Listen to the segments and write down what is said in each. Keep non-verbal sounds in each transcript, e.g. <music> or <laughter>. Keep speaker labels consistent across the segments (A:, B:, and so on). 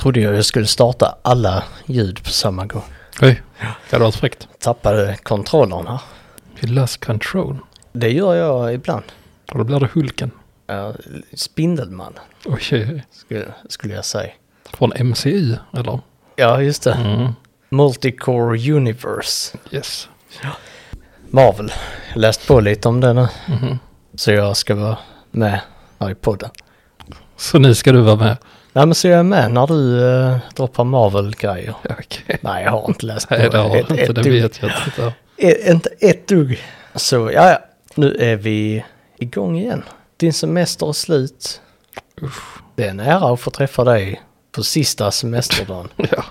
A: trodde jag jag skulle starta alla ljud på samma gång.
B: Oj, det hade varit fräckt.
A: Tappade kontrollen här.
B: Vi löst control.
A: Det gör jag ibland.
B: Och då blir det Hulken.
A: Eh, Spindelman
B: Oj, oj, oj.
A: skulle, skulle jag säga.
B: Från MCU, eller?
A: Ja, just det.
B: Mm.
A: Multicore Universe.
B: Yes.
A: Marvel. Jag läst på lite om det nu.
B: Mhm.
A: Så jag ska vara med här i podden.
B: Så nu ska du vara med?
A: Nej men så jag är med när du eh, droppar Marvel-grejer.
B: Ja, Okej.
A: Nej jag har inte läst på
B: <laughs> Nej, det har
A: ett,
B: du inte.
A: ett
B: Det
A: dugg.
B: vet jag inte. Det-
A: E- inte ett dugg. Så ja, ja, nu är vi igång igen. Din semester är slut. Det är en ära att få träffa dig på sista semesterdagen.
B: <laughs> Ja.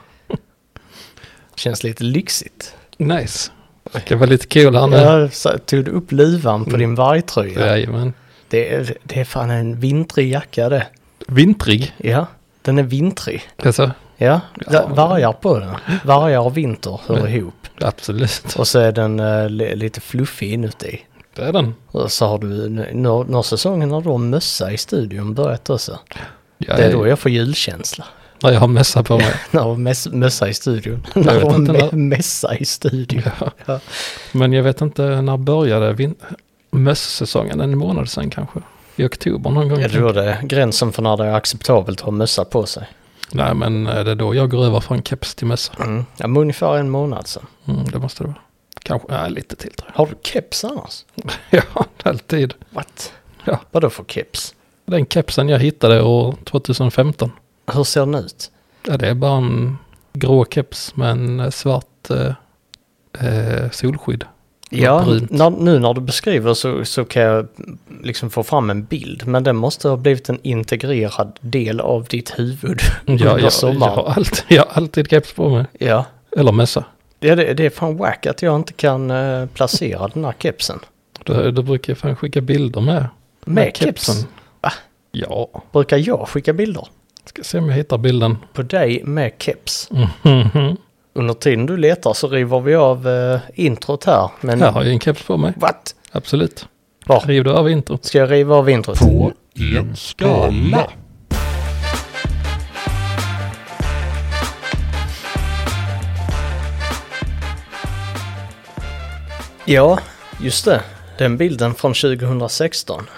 A: Känns lite lyxigt.
B: Nice. Verkar vara lite kul här nu.
A: Jag sa- tog du upp luvan
B: Mm.
A: på din vargtröja.
B: Jajamän.
A: Det, är, det är fan en vintrig jacka det.
B: Vintrig.
A: Ja, den är vintrig.
B: Alltså,
A: Ja,
B: Ja.
A: vargar på den. Vargar och vinter hör ihop.
B: absolut.
A: Och så är den eh, li- lite fluffig inuti.
B: Det är den.
A: Och så har du, nu, nu, nu har säsongen har då mössa i studion börjat också.
B: Jag
A: Det är då jag får julkänsla. <laughs>
B: När jag har mössa på mig.
A: När jag mäss, mössa i studion.
B: Jag
A: När
B: vet
A: jag
B: inte
A: mä,
B: när-
A: mässa i studion.
B: Ja.
A: <laughs> Ja.
B: Men jag vet inte, när började vin- mössäsongen? En månad sedan kanske? I oktober någon gång?
A: Jag tror det är gränsen för när det är acceptabelt att ha mössa på sig.
B: Nej, men eh, det är då jag går över från keps till mössa.
A: Mm. Ja, men ungefär en månad sedan.
B: Mm, det måste det vara. Kanske, nej, lite till tror jag.
A: Har du keps annars?
B: <laughs> Ja, alltid.
A: What?
B: Ja.
A: Vadå för keps?
B: Den kepsen jag hittade år 2015.
A: Hur ser den ut?
B: Ja, det är bara en grå keps med en eh, svart eh, eh, solskydd.
A: Ja,
B: brunt.
A: när, nu när du beskriver så, så kan jag liksom få fram en bild. Men den måste ha blivit en integrerad del av ditt huvud
B: Ja,
A: under
B: jag, jag,
A: sommaren.
B: har alltid, <laughs> jag har alltid keps på mig.
A: Ja.
B: Eller mössa.
A: ja det, det är fan wack att jag inte kan eh, placera den här kepsen.
B: Du, du brukar jag fan skicka bilder med.
A: Med keps? Va?
B: Ja,
A: Brukar jag skicka bilder
B: ska se om jag hittar bilden. <laughs>
A: på dig med keps?
B: Mhm.
A: Under tiden du letar så river vi av eh, introt här. Men
B: Här har jag en keps på mig.
A: what?
B: Absolut.
A: Var?
B: Riv du av introt?
A: Ska jag riva av introt?
C: en skala.
A: Ja, just det. Den bilden från 2016.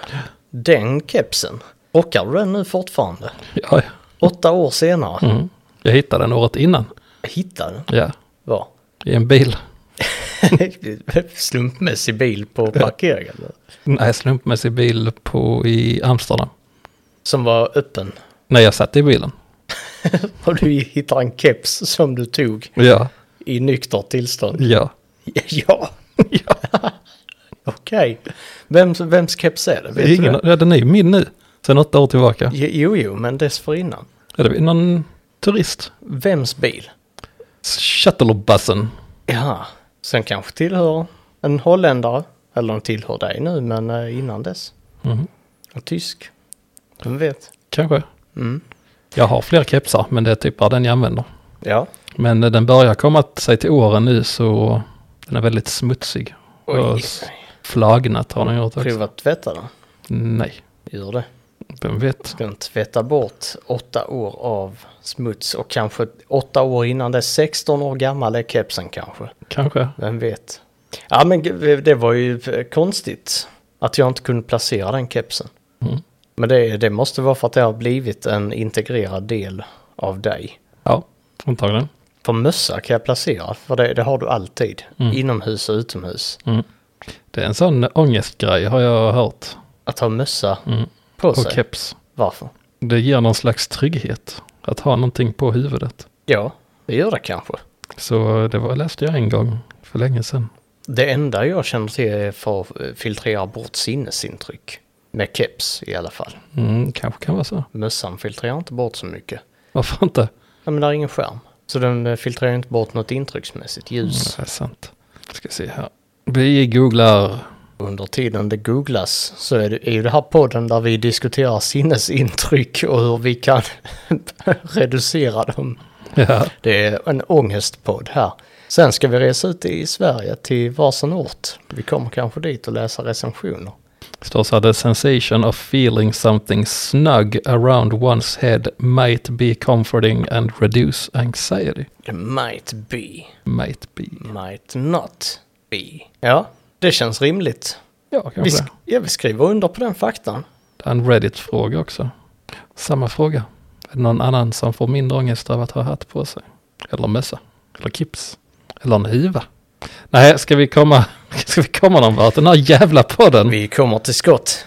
A: Den kepsen. Rockar du den nu fortfarande?
B: Ja, ja.
A: Åtta år senare.
B: mm. Jag hittade den året innan.
A: Jag hittade den.
B: Ja,
A: Var. <laughs>
B: i en bil.
A: En Slumpmässig bil på parkeringen.
B: Nej, slumpmässig bil på, i Amsterdam.
A: Som var öppen.
B: När jag satt i bilen.
A: Och du hittar en keps som du tog
B: Ja,
A: i nyktert tillstånd.
B: ja.
A: <laughs> Ja.
B: ja.
A: Okej. Vems, vems keps är det?
B: Det
A: Vet
B: är
A: du
B: Ingen,
A: det?
B: ja, den är ju min nu. Sen åtta år tillbaka.
A: Jo, jo, men dessförinnan.
B: Är det någon turist?
A: Vems bil?
B: Shuttlebussen.
A: Ja, sen kanske tillhör en holländare. Eller de tillhör dig nu, men eh, innan dess.
B: Mhm.
A: En tysk. Vem vet?
B: Kanske.
A: Mm.
B: Jag har fler kepsar, men det är typ bara den jag använder.
A: Ja.
B: Men eh, den börjar komma t- sig till åren nu så den är väldigt smutsig. Och
A: Oj.
B: s- flagnat har den gjort också.
A: Prova att tvätta den.
B: Nej,
A: Gör det.
B: vem vet.
A: Ska den tvätta bort åtta år av smuts och kanske åtta år innan det. 16 år gammal är kepsen kanske.
B: Kanske.
A: Vem vet? Ja men g- det var ju eh, konstigt att jag inte kunde placera den kepsen.
B: Mm.
A: Men det, det måste vara för att det har blivit en integrerad del av dig.
B: Ja, antagligen.
A: För mössa kan jag placera, för det, det har du alltid.
B: Mm.
A: Inomhus och utomhus.
B: Det är en sån ångestgrej har jag hört.
A: Att ha mössa
B: Mm.
A: på
B: På
A: sig.
B: keps.
A: Varför?
B: Det ger någon slags trygghet. Att ha någonting på huvudet.
A: Ja, det gör det kanske.
B: Så det var, läste jag en gång för länge sedan.
A: Det enda jag känner till är för att eh, filtrera bort sinnesintryck. Med keps i alla fall.
B: Mm, kanske kan vara så.
A: Mössan filtrerar inte bort så mycket.
B: Varför inte?
A: Ja, men det är ingen skärm. Så den eh, filtrerar inte bort något intrycksmässigt ljus.
B: Det är sant. Ska se här. Vi googlar.
A: Under tiden det googlas så är det, är ju det här podden där vi diskuterar sinnesintryck och hur vi kan <laughs> reducera dem.
B: Ja,
A: Det är en ångestpodd här. Sen ska vi resa ut i Sverige till varsin ort. Vi kommer kanske dit och läsa recensioner.
B: <laughs> Står så här, the sensation of feeling something snug around one's head might be comforting and reduce anxiety.
A: Might be,
B: Might be.
A: might not be. Ja, det känns rimligt.
B: Ja, kanske
A: Vi,
B: det.
A: sk- ja, vi skriver under på den faktan.
B: Det är en Reddit-fråga också. Samma fråga. Är det någon annan som får mindre ångest av att ha hatt på sig? Eller mössa? Eller kips? Eller en hiva? Nej, ska vi komma, <laughs> ska vi komma någon vart? Den här jävla podden.
A: Vi kommer till skott.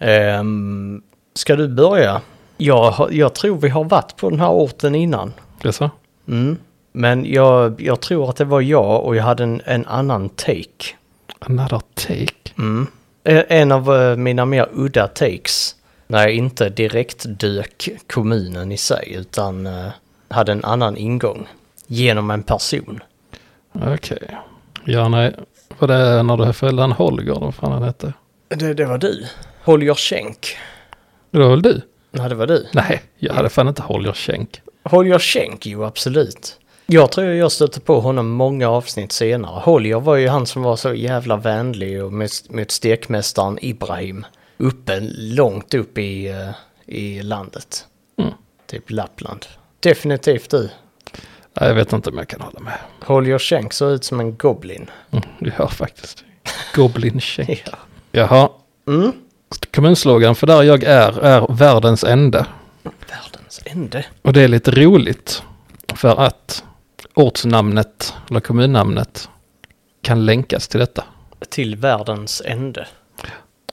A: Um, ska du börja? Jag, har- jag tror vi har varit på den här orten innan.
B: Det är så?
A: Mm. Men jag, jag tror att det var jag och jag hade en, en annan take.
B: Another take.
A: Mm. Eh, En av eh, mina mer udda takes. När jag inte direkt dök kommunen i sig utan eh, hade en annan ingång. Genom en person.
B: Okej. Ja, nej. Var det när du följde en Holger, eller vad fan han hette?
A: Det, det var du. Holger Schenk.
B: Det var väl du?
A: Ja, det var du.
B: Nej, jag hade fan inte Holger Schenk.
A: Holger Schenk, jo absolut. Jag tror jag stötte på honom många avsnitt senare. Holger var ju han som var så jävla vänlig och mot, mot stekmästaren Ibrahim. Uppe, långt upp i, eh, i landet.
B: Mm.
A: Typ Lappland. Definitivt du.
B: Nej, jag vet inte om jag kan hålla med.
A: Holger Schenk såg ut som en goblin.
B: Mm, du hör faktiskt.
A: <laughs>
B: Goblin Schenk.
A: Ja.
B: Jaha,
A: Mm.
B: Kommunslogan för där jag är är världens ände.
A: Världens ände.
B: Och det är lite roligt för att ortsnamnet eller kommunnamnet kan länkas till detta.
A: Till världens ände.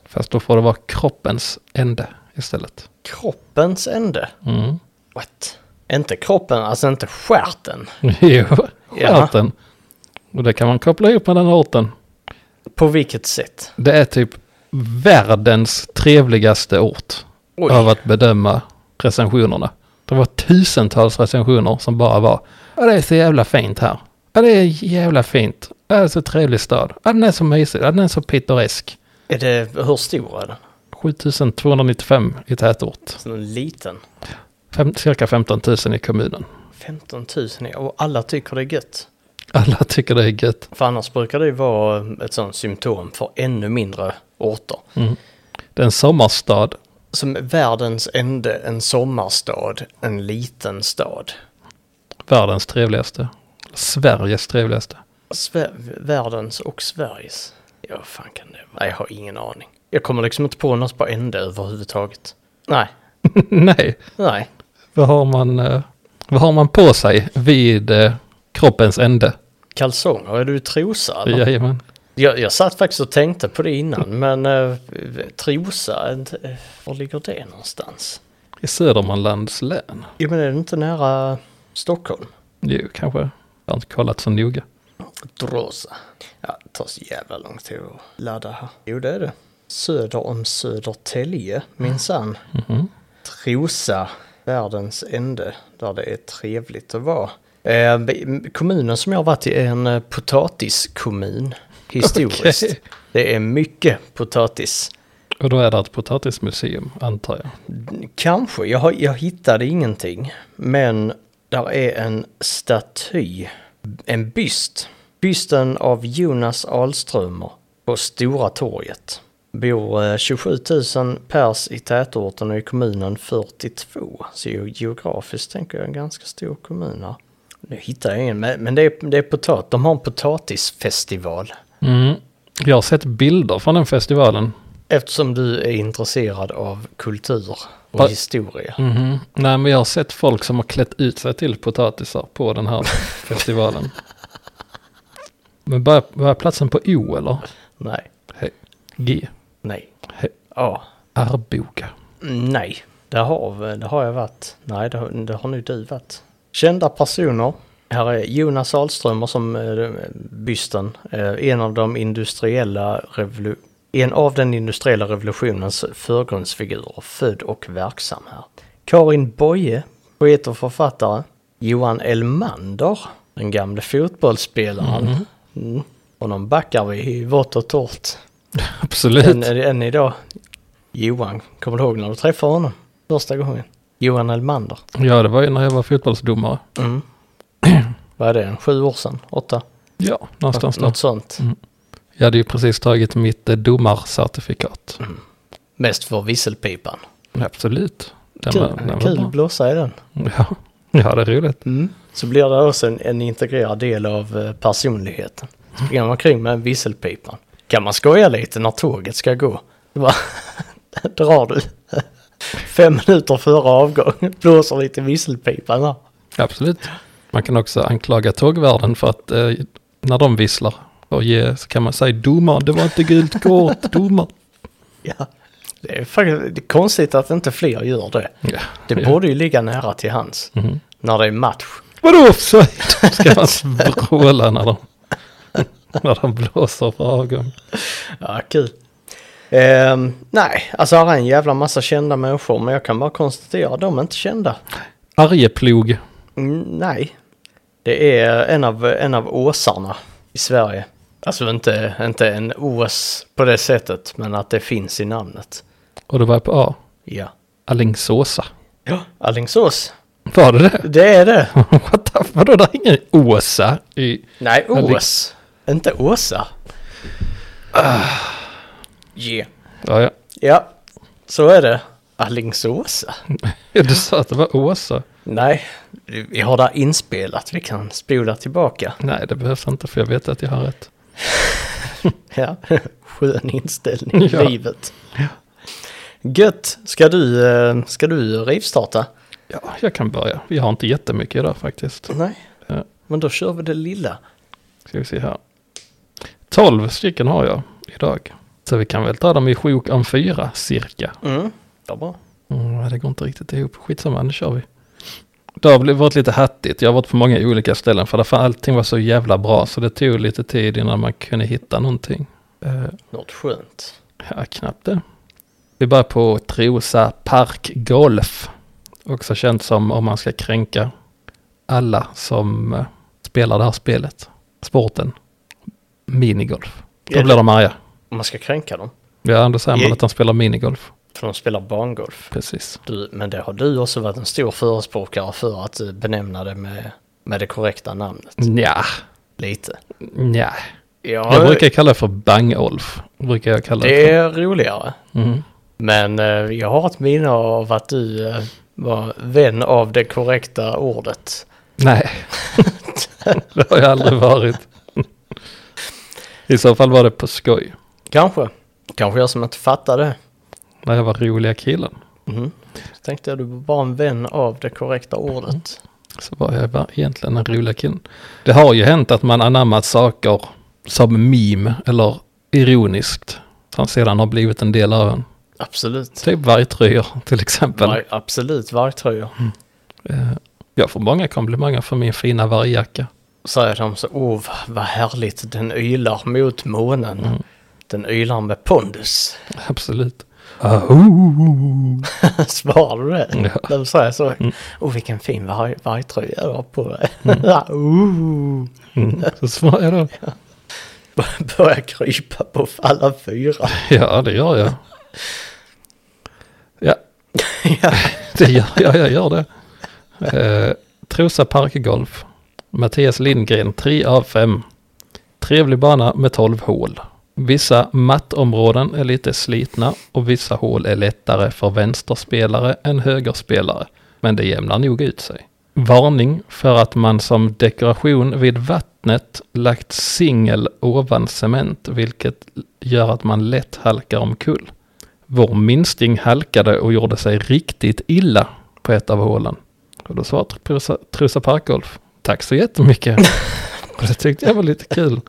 B: Fast då får det vara kroppens ände istället.
A: Kroppens ände.
B: Mm. <laughs>
A: What? Inte kroppen, alltså inte stjärten.
B: Jo,
A: Ja.
B: skärten. Och det kan man koppla ihop med den orten.
A: På vilket sätt?
B: Det är typ världens trevligaste ort
A: Oj.
B: av att bedöma recensionerna. Det var tusentals recensioner som bara var Ja det är så jävla fint här. Ja det är jävla fint. Ja det är så trevlig stad. Ja den är så mysig. Ja den är så pittoresk.
A: Är det, hur stor är den?
B: 7295 i tätort.
A: Så den är liten.
B: Fem, cirka 15 000 i kommunen.
A: 15 000 är- och alla tycker det är gött.
B: Alla tycker det är gött.
A: För annars brukar det ju vara ett sånt symptom för ännu mindre orter.
B: Det är en sommarstad.
A: Som världens ände, en sommarstad, en liten stad.
B: Världens trevligaste. Sveriges trevligaste. <laughs>
A: Sve- världens och Sveriges. Ja, vad fan kan det vara? Nej, jag har ingen aning. Jag kommer liksom inte på något på ände överhuvudtaget. Nej,
B: Nej,
A: nej.
B: vad har man, eh, vad har man på sig vid eh, kroppens ände?
A: Kalsonger, är du i trosa eller?
B: Jajamän.
A: Jag, jag satt faktiskt och tänkte på det innan, men eh, trosa, eh, var ligger det någonstans?
B: I Södermanlands län?
A: Jo, men är det inte nära Stockholm?
B: Jo, kanske. Jag har inte kollat så noga.
A: Drosa. Ja, det tar så jävla lång tid att ladda här. Jo, det är det. Söder om Södertälje, minsann.
B: Mhm.
A: Trosa, världens ände, där det är trevligt att vara. Eh, b- kommunen som jag har varit i är en eh, potatiskommun, historiskt.
B: Okej.
A: Det är mycket potatis.
B: Och då är det ett potatismuseum, antar jag.
A: Kanske, jag, har, jag hittade ingenting. Men där är en staty, en byst. Bysten av Jonas Alströmer på Stora torget. Bor eh, 27 000 pers i tätorten och i kommunen 42. Så ge- geografiskt tänker jag en ganska stor kommun här. Nu hittar jag ingen, men men det är, det är potat. De har en potatisfestival.
B: Mm. Jag har sett bilder från den festivalen.
A: Eftersom du är intresserad av kultur och
B: Va-
A: historia.
B: Mhm. Nej, men jag har sett folk som har klätt ut sig till potatisar på den här festivalen. Men börjar, börjar platsen på O eller?
A: Nej,
B: G.
A: nej.
B: He-
A: Ja.
B: Arboga.
A: Mm, Nej, det har, det har jag varit. Nej, det, har- det har nog du varit. Kända personer. Här är Jonas Ahlströmer som eh, bysten. Eh, En av de industriella revolu- en av den industriella revolutionens förgrundsfigurer, född och verksam här. Karin Boye, poet och författare. Johan Elmander, den gamle fotbollsspelaren. Mm. Honom backar vi i vått och torrt. Än,
B: Absolut.
A: än idag. Johan, kommer du ihåg när du träffade honom första gången? Johan Elmander.
B: Ja, det var ju när jag var fotbollsdomare.
A: Mm.
B: <clears throat>
A: Vad är det, en sju år sedan? Åtta?
B: Ja, någonstans där.
A: Något sånt.
B: Mm. Jag hade ju precis tagit mitt eh, domarcertifikat.
A: Mest för visselpipan.
B: Absolut. Den var, den
A: Kul,
B: var
A: kul
B: bra.
A: blåsa i den. Mm.
B: Ja. ja, det är roligt.
A: Så blir det också en, en integrerad del av eh, personligheten. Springer man omkring med en visselpipa. Kan man skoja lite när tåget ska gå? Det bara <laughs> drar du. <laughs> Fem minuter före avgång blåser lite i visselpipan där.
B: Absolut. Man kan också anklaga tågvärden för att eh, när de visslar och ge, så kan man säga domar, det var inte gult <laughs> kort, domar.
A: Ja. Det är faktiskt det är konstigt att inte fler gör det.
B: Ja,
A: Det
B: ja.
A: borde ju ligga nära till hands.
B: Mhm.
A: När det är match.
B: Vadå <laughs> offside? Ska man vråla när de, <laughs> när de blåser för avgång?
A: Ja, kul. Ehm, nej, alltså här är en jävla massa kända människor men jag kan bara konstatera att de är inte kända.
B: Arjeplog.
A: Mm, nej. Det är en av, en av åsarna i Sverige. Alltså inte, inte en ås på det sättet, men att det finns i namnet.
B: Och det var på A.
A: Ja.
B: Alingsåsa.
A: Ja. Alingsås.
B: Var det det?
A: Det är det.
B: <laughs> What the, vadå, det är ingen Åsa i...
A: Nej,
B: Alling-
A: ås. Inte åsa. Yeah.
B: Ja, ja.
A: Ja, så är det. Alingsåsa.
B: Du sa att det var Åsa.
A: Nej, vi har det inspelat. Vi kan spola tillbaka.
B: Nej, det behövs inte för jag vet att jag har rätt.
A: Ja, <laughs> skön inställning i
B: Ja.
A: livet. Gött, ska du, eh, ska du rivstarta?
B: Ja, jag kan börja. Vi har inte jättemycket idag faktiskt.
A: Nej.
B: Ja.
A: Men då kör vi det lilla.
B: Ska vi se här. 12 stycken har jag idag. Så vi kan väl ta dem i sjok om fyra cirka.
A: Mm. Ja, bra.
B: Mm, nej, det går inte riktigt ihop. Skitsamma, nu kör vi. Det har blivit- varit lite hattigt. Jag har varit på många olika ställen för därför allting var så jävla bra. Så det tog lite tid innan man kunde hitta någonting. Eh,
A: Något skönt.
B: Ja, knappt det. Vi börjar på Trosa Park Golf. Också känt som om man ska kränka alla som eh, spelar det här spelet. Sporten. Minigolf. Då
A: Ja.
B: blir de arga.
A: Om man ska kränka dem.
B: Ja, då säger man
A: Ja.
B: att de spelar minigolf.
A: För de spelar barngolf.
B: Precis.
A: Du, men det har du också varit en stor förespråkare för att eh, benämna det med, med det korrekta namnet.
B: Nja,
A: Lite.
B: nja.
A: Ja,
B: Jag brukar kalla det för bangolf. Brukar jag kalla det,
A: det är roligare.
B: för. Mm.
A: Men eh, jag har ett minne av att du eh, var vän av det korrekta ordet.
B: Nej, <laughs> det har jag aldrig varit. I så fall var det på skoj.
A: Kanske. Kanske jag som inte fattade.
B: När jag var roliga killen.
A: Mm. Så tänkte jag du var bara en vän av det korrekta ordet.
B: så var jag bara egentligen en rolig kille. Det har ju hänt att man anammat saker som meme eller ironiskt som sedan har blivit en del av en.
A: Absolut.
B: Typ vargtröjor till exempel.
A: Var, absolut vargtröjor.
B: Eh, Jag får många komplimanger för min fina vargjacka.
A: Säger de så, åh oh, vad härligt, den ylar mot månen. Den ylar med pondus.
B: Absolut. Aho!
A: <laughs> Svarar du det?
B: Ja. Mm.
A: De säger så, åh oh, vilken fin varg, vargtröja du har på dig. <laughs> Mm.
B: Mm, Så svarar jag då.
A: Börjar krypa på alla
B: <laughs>
A: fyra.
B: Ja, det gör jag. Ja,
A: ja.
B: det gör jag. Jag gör det. Eh, Trosa Parkgolf. Mattias Lindgren, 3 av 5. Trevlig bana med 12 hål. Vissa mattområden är lite slitna och vissa hål är lättare för vänsterspelare än högerspelare. Men det jämnar nog ut sig. Varning för att man som dekoration vid vattnet lagt singel ovan cement vilket gör att man lätt halkar omkull. Vår minsting halkade och gjorde sig riktigt illa på ett av hålen. Och då sa Trusa- Trusa Parkgolf, tack så jättemycket. <laughs> och det tyckte jag var lite kul.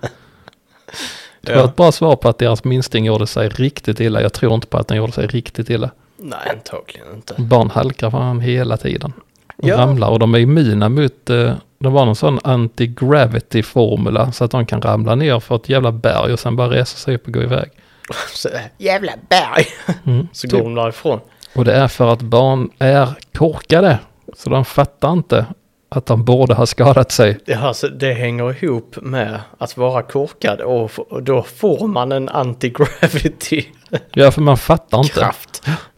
B: Det var ett bra svar på att deras minsting gjorde sig riktigt illa. Jag tror inte på att den gjorde sig riktigt illa.
A: Nej, antagligen inte.
B: Barn halkar fan hela tiden. Och
A: Ja.
B: ramlar och de är immuna mot, eh, det var någon sån anti-gravity formula så att de kan ramla ner för ett jävla berg och sen bara resa sig upp och gå iväg.
A: Så, Jävla berg!
B: Mm,
A: Så
B: typ.
A: går de därifrån.
B: Och det är för att barn är korkade. Så de fattar inte att de borde ha skadat sig.
A: Ja, alltså, det hänger ihop med att vara korkad och, f- och då får man en anti-gravity-kraft.
B: Ja, för man fattar inte.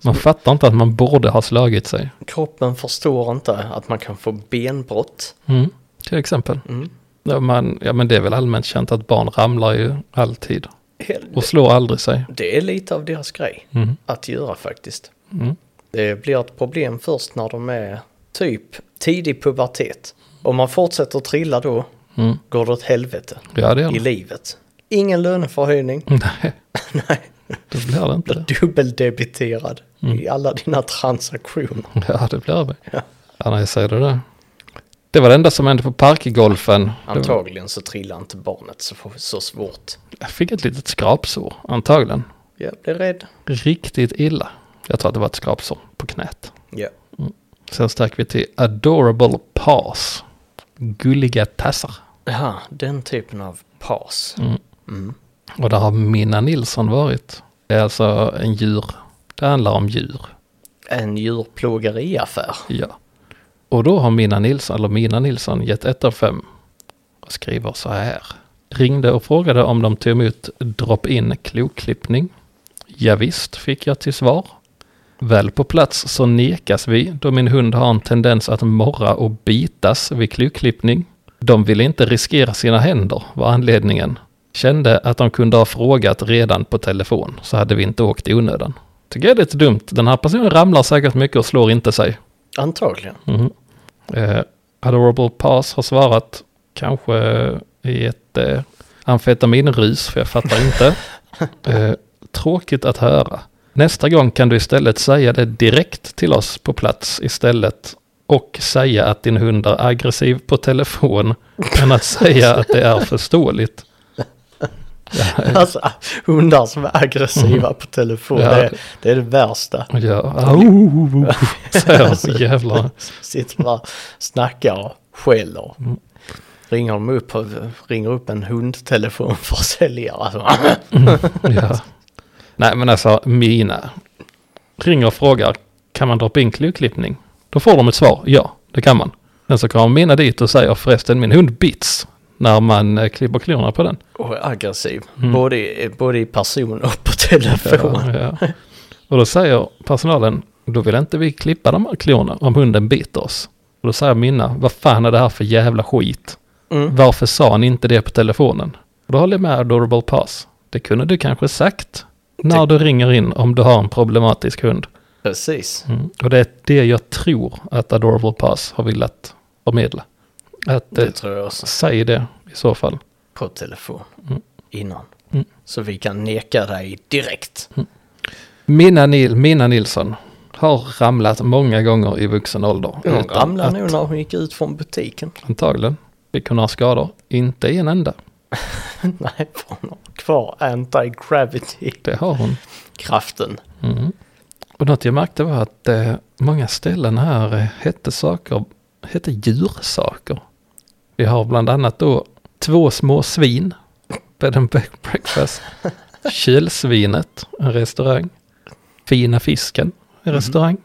B: Man fattar inte att man borde ha slagit sig.
A: Kroppen förstår inte att man kan få benbrott.
B: Mm, till exempel.
A: Mm.
B: Ja, man, ja, men det är väl allmänt känt att barn ramlar ju alltid.
A: Hel-
B: Och slår aldrig sig.
A: Det är lite av deras grej
B: Mm.
A: att göra faktiskt.
B: Mm.
A: Det blir ett problem först när de är typ tidig pubertet. Om man fortsätter trilla då
B: Mm.
A: går det åt helvete
B: Ja, det gör
A: i
B: det.
A: livet. Ingen löneförhöjning,
B: Nej,
A: <laughs> nej,
B: det blir det inte.
A: blir
B: Det.
A: dubbeldebiterad
B: Mm.
A: i alla dina transaktioner.
B: Ja, det blir det. Ja, nej, säger du det. Det var det enda som hände på parkgolfen. Det var-
A: Antagligen så trillar inte barnet så, så svårt.
B: Jag fick ett litet skrapsår, antagligen.
A: Jag blir rädd.
B: Riktigt illa. Jag tror att det var ett skrapsår på knät.
A: Ja.
B: Sen stack vi till Adorable Paws. Gulliga tassar.
A: Jaha, den typen av pass.
B: Mm.
A: Mm.
B: Och där har Minna Nilsson varit. Det är alltså en djur. Det handlar om djur.
A: En djurplågeriaffär.
B: Ja. Och då har Minna Nilsson, eller Mina Nilsson, gett ett av fem och skriver så här. Ringde och frågade om de tog emot drop-in kloklippning. Ja, visst, fick jag till svar. Väl på plats så nekas vi då min hund har en tendens att morra och bitas vid kloklippning. De ville inte riskera sina händer var anledningen. Kände att de kunde ha frågat redan på telefon så hade vi inte åkt i onödan. Tycker jag det är lite dumt. Den här personen ramlar säkert mycket och slår inte sig.
A: Antagligen. <laughs>
B: Mhm. Eh, Adorable Pass har svarat kanske i ett eh, amfetaminrus, för jag fattar inte. Eh, tråkigt att höra. Nästa gång kan du istället säga det direkt till oss på plats istället och säga att din hund är aggressiv på telefon än att säga att det är förståeligt.
A: Alltså, hundar som är aggressiva på telefon,
B: Mm. Ja.
A: det, är- det är det värsta.
B: Ja, au, säger <laughs> de, jävlar.
A: <laughs> Sitter bara och snackar och skäller. Ringer de upp, ringer upp en hundtelefonförsäljare. Alltså,
B: Ja. <laughs> Nej men alltså mina ringer och frågar kan man droppa in kloklippning? Då får de ett svar, ja det kan man. Sen så kommer mina dit och säger förresten min hund bits när man eh, klipper klorna på den.
A: och är aggressiv.
B: Mm.
A: Både, i- både i person och på telefon.
B: Ja, ja. Och då säger personalen då vill inte vi klippa de här klorna om hunden biter oss. Och då säger mina vad fan är det här för jävla skit?
A: Mm.
B: Varför sa ni inte det på telefonen? Och då håller jag med Adorable Pass. Det kunde du kanske sagt när du ringer in om du har en problematisk hund.
A: Precis.
B: Mm. Och det är det jag tror att Adorable Pass har velat förmedla. Att eh,
A: Det tror jag också.
B: säg det i så fall.
A: På telefon.
B: Mm.
A: Innan.
B: Mm.
A: Så vi kan neka dig direkt.
B: Minna, Nil, Minna Nilsson har ramlat många gånger i vuxen ålder.
A: Hon
B: utan
A: ramlade
B: Mm.
A: nog
B: att-
A: när hon gick ut från butiken. <laughs>
B: Antagligen. Fick hon några skador? Inte en enda.
A: Nej, för hon har kvar anti-gravity-kraften.
B: Det har hon. Mm. Och något jag märkte var att eh, många ställen här eh, hette saker, hette djursaker. Vi har bland annat då två små svin, bed and Break- breakfast, kylsvinet, en restaurang, fina fisken, en restaurang.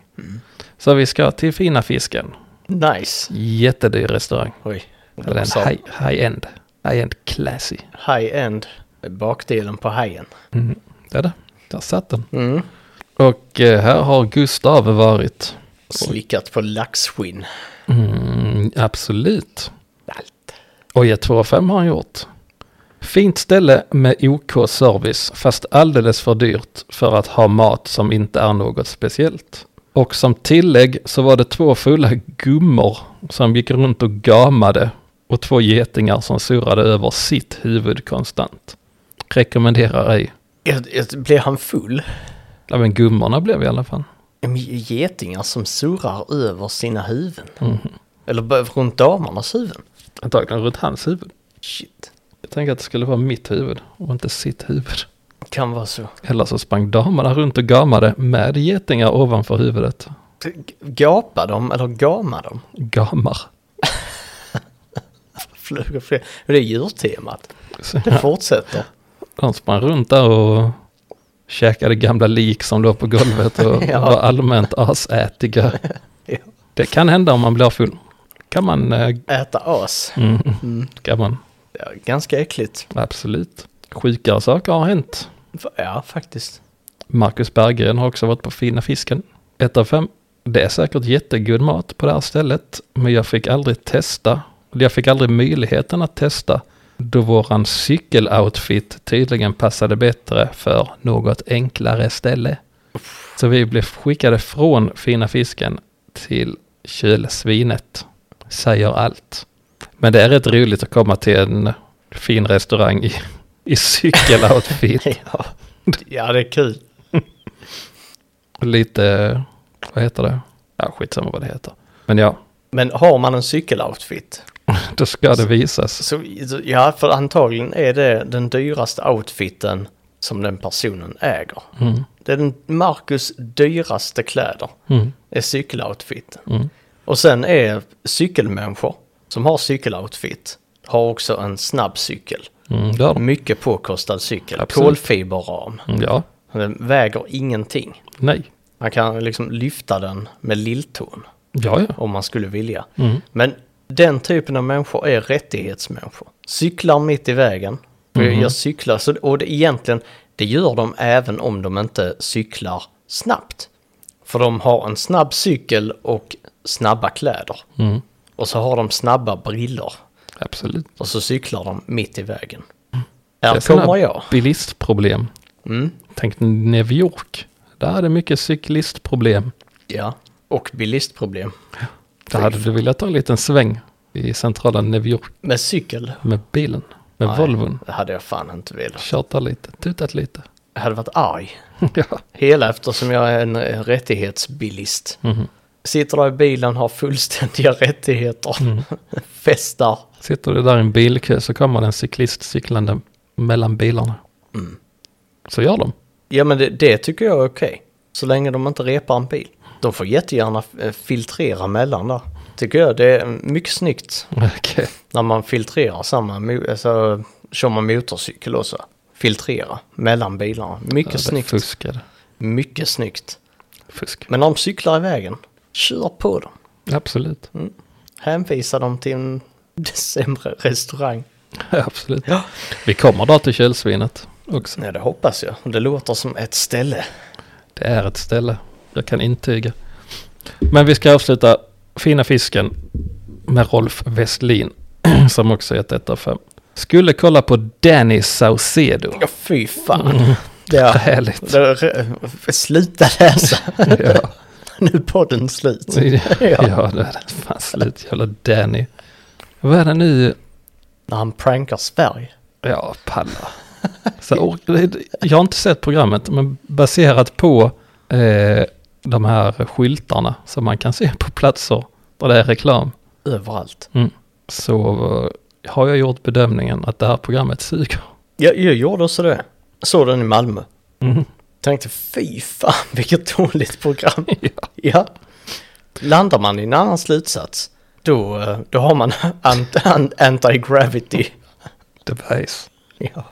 B: Så vi ska till fina fisken,
A: Nice.
B: jättedyr restaurang.
A: Oj.
B: Det är en high, high end, high end classy.
A: High-end. Bakdelen på hajen.
B: Mm. Det är det, där satt den.
A: Mm.
B: Och eh, här har Gustav varit.
A: Slickat på laxskinn.
B: Mm, absolut.
A: Allt.
B: Och gett 2 av 5 har han gjort. Fint ställe med OK service, fast alldeles för dyrt för att ha mat som inte är något speciellt. Och som tillägg så var det två fulla gummor som gick runt och gamade och två getingar som surrade över sitt huvud konstant. Rekommenderar ej.
A: Jag, jag, blir han full?
B: Ja, men gummorna blev i alla fall.
A: Men Getingar som surrar över sina huvuden.
B: Mm.
A: Eller bara runt damernas huvuden.
B: Antagligen runt hans huvud.
A: Shit.
B: Jag tänker att det skulle vara mitt huvud och inte sitt huvud.
A: Kan vara så.
B: Eller så sprang damerna runt och gamade med getingar ovanför huvudet.
A: Gapa dem eller gama dem.
B: Gamar.
A: Flög och flög. Det är djurtemat.
B: Så,
A: Det fortsätter.
B: De sprang runt där och käkade gamla lik som låg på golvet och
A: <laughs> Ja.
B: var allmänt asätiga.
A: <laughs> Ja.
B: Det kan hända om man blir full. Kan man, eh,
A: Äta as.
B: mm, kan man,
A: Ja, ganska äckligt.
B: absolut. Sjukare saker har hänt.
A: Ja, faktiskt.
B: Marcus Berggren har också varit på Fina Fisken. Ett av fem. Det är säkert jättegod mat på det här stället, men jag fick aldrig testa. Jag fick aldrig möjligheten att testa Då våran cykeloutfit tydligen passade bättre för något enklare ställe. Så vi blev skickade från fina fisken till kylsvinet. Säger allt. Men det är rätt roligt att komma till en fin restaurang i, i cykeloutfit.
A: ja. ja, det är kul.
B: Lite, vad heter det? Ja, skitsamma vad det heter. Men ja, <laughs>
A: Men har man en cykeloutfit?
B: då ska det visas.
A: Så, så- ja, för antagligen är det den dyraste outfiten som den personen äger.
B: Mm,
A: Det är den Marcus dyraste kläder,
B: mm,
A: är cykeloutfiten.
B: mm.
A: Och sen är cykelmänniskor som har cykeloutfit, har också en snabb cykel.
B: Mm, det har de.
A: Mycket påkostad cykel,
B: Absolut.
A: kolfiberram.
B: Mm, Ja,
A: Den väger ingenting.
B: nej.
A: Man kan liksom lyfta den med lilltån
B: Ja, ja.
A: om man skulle vilja.
B: Mm.
A: Men den typen av människor är rättighetsmänniskor. Cyklar mitt i vägen. För
B: Mhm.
A: jag- Jag cyklar, så, och det, egentligen, det gör de även om de inte cyklar snabbt. För de har en snabb cykel och snabba kläder.
B: Mm.
A: Och så har de snabba briller.
B: Absolut.
A: Och så cyklar de mitt i vägen.
B: Det
A: Här
B: är såna
A: kommer jag.
B: Bilistproblem.
A: Mm,
B: Tänk New York. Där är det mycket cyklistproblem.
A: ja. Och bilistproblem.
B: Där hade du velat ta en liten sväng i centrala New York
A: Med cykel?
B: med bilen. Med
A: Nej.
B: Volvon.
A: Det hade jag fan inte velat.
B: Tjatat lite, tutat lite. <laughs>
A: Jag hade varit arg.
B: ja.
A: Hela eftersom jag är en, en rättighetsbilist.
B: Mhm.
A: Sitter där i bilen, har fullständiga <laughs> rättigheter.
B: Mm.
A: <laughs> Festar.
B: Sitter du där i en bilkö så kommer det en cyklist cyklande mellan bilarna. Mm. Så gör de.
A: Ja men det, det tycker jag är okej. Så länge de inte repar en bil. De får jättegärna eh, filtrera mellan där. Tycker jag det är mycket snyggt
B: <laughs> Okej.
A: när man filtrerar samma, mo- alltså kör man motorcykel också. Filtrera mellan bilarna. Mycket
B: Ja, det
A: snyggt.
B: Fuskade.
A: Mycket snyggt.
B: Fusk.
A: Men när de cyklar i vägen, kör på dem.
B: Absolut. <laughs>
A: Hänvisa dem till en <laughs> sämre restaurang.
B: Absolut. Vi kommer då till kylsvinet också.
A: Ja, det hoppas jag. Det låter som ett ställe.
B: Det är ett ställe. Jag kan intyga. Men vi ska avsluta Fina fisken med Rolf Westlin. <clears throat> Som också gett 1 av 5. Skulle kolla på Danny Saucedo.
A: Ja, fy
B: Mm.
A: fan. Det,
B: <laughs> Härligt.
A: det, det, sluta läsa. <laughs>
B: Ja,
A: Nu är podden slut.
B: Mm. ja det är fan slut. Jävla Danny. Vad är det nu?
A: När han prankar Sverige.
B: Ja, palla. Så, or- jag har inte sett programmet, men baserat på eh, de här skyltarna som man kan se på platser där det är reklam.
A: Överallt.
B: så eh, har jag gjort bedömningen att det här programmet suger.
A: Jag, jag gjorde också det. Såg den i Malmö.
B: Mm.
A: Tänkte fy fan vilket dåligt program.
B: <laughs>
A: <laughs>
B: Ja.
A: Ja. Landar man i en annan slutsats. Då, eh, då har man <laughs> ant- an- anti-gravity.
B: Device.
A: Ja.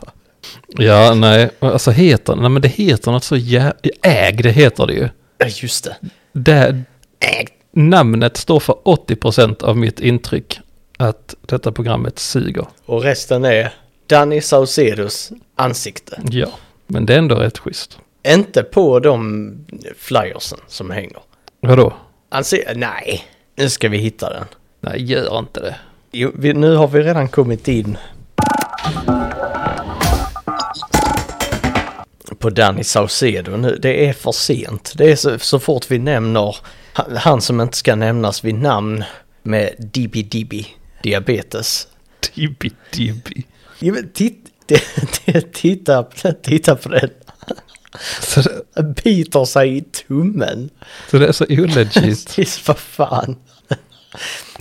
B: Ja, nej, alltså heter nej, men det heter något så jävla... Äg, det heter det ju.
A: Ja, Just det.
B: Det,
A: Äh,
B: namnet står för 80% av mitt intryck att detta programmet suger.
A: Och resten är Danny Saucedos ansikte.
B: Ja, men det är ändå rätt schysst.
A: Inte på de flyersen som hänger.
B: Vadå?
A: Anse- nej, nu ska vi hitta den.
B: Nej, gör inte det.
A: Jo, vi, nu har vi redan kommit in på Danny Saucedo nu. Det är för sent. Det är så, så fort vi nämner han, han som inte ska nämnas vid namn med Dibi Dibi diabetes.
B: Dibbi, dibbi.
A: Jo, men titt, <laughs> titta, titta på den.
B: Så det,
A: Han biter sig i tummen.
B: så det är så olegit.
A: Precis, <laughs> vad fan.
B: Den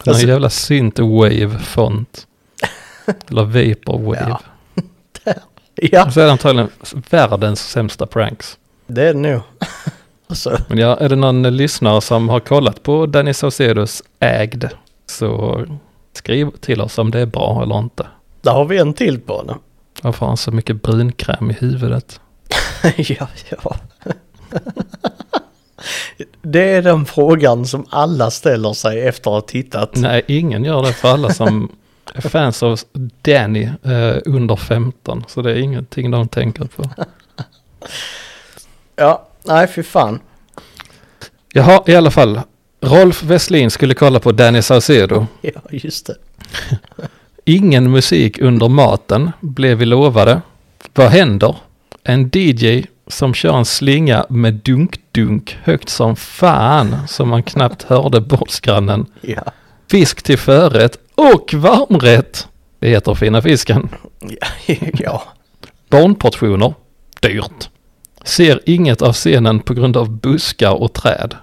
B: här
A: Alltså-
B: jävla synthwave-font. Eller vaporwave.
A: Ja. Ja,
B: Så är det antagligen världens sämsta pranks.
A: det är det nog. <laughs> Alltså,
B: Men ja, är det någon lyssnare som har kollat på Danny Saucedos ägd så skriv till oss om det är bra eller inte.
A: där har vi en till på honom. <laughs>
B: Varför har han så mycket brunkräm i huvudet?
A: ja, ja. <laughs> det är den frågan som alla ställer sig efter att ha tittat.
B: Nej, ingen gör det för alla som är fans av Danny eh, under 15. Så det är ingenting de tänker på.
A: Ja, nej fy fan.
B: Jaha, i alla fall. Rolf Westlin skulle kolla på Danny Saucedo.
A: Ja, just det.
B: Ingen musik under maten blev vi lovade. Vad händer? En DJ som kör en slinga med dunk-dunk högt som fan som man knappt hörde bordsgrannen.
A: Ja.
B: Fisk till förrätt och varmrätt. Det heter fina fisken.
A: ja. <laughs>
B: Barnportioner. Dyrt. Ser inget av scenen på grund av buskar och träd.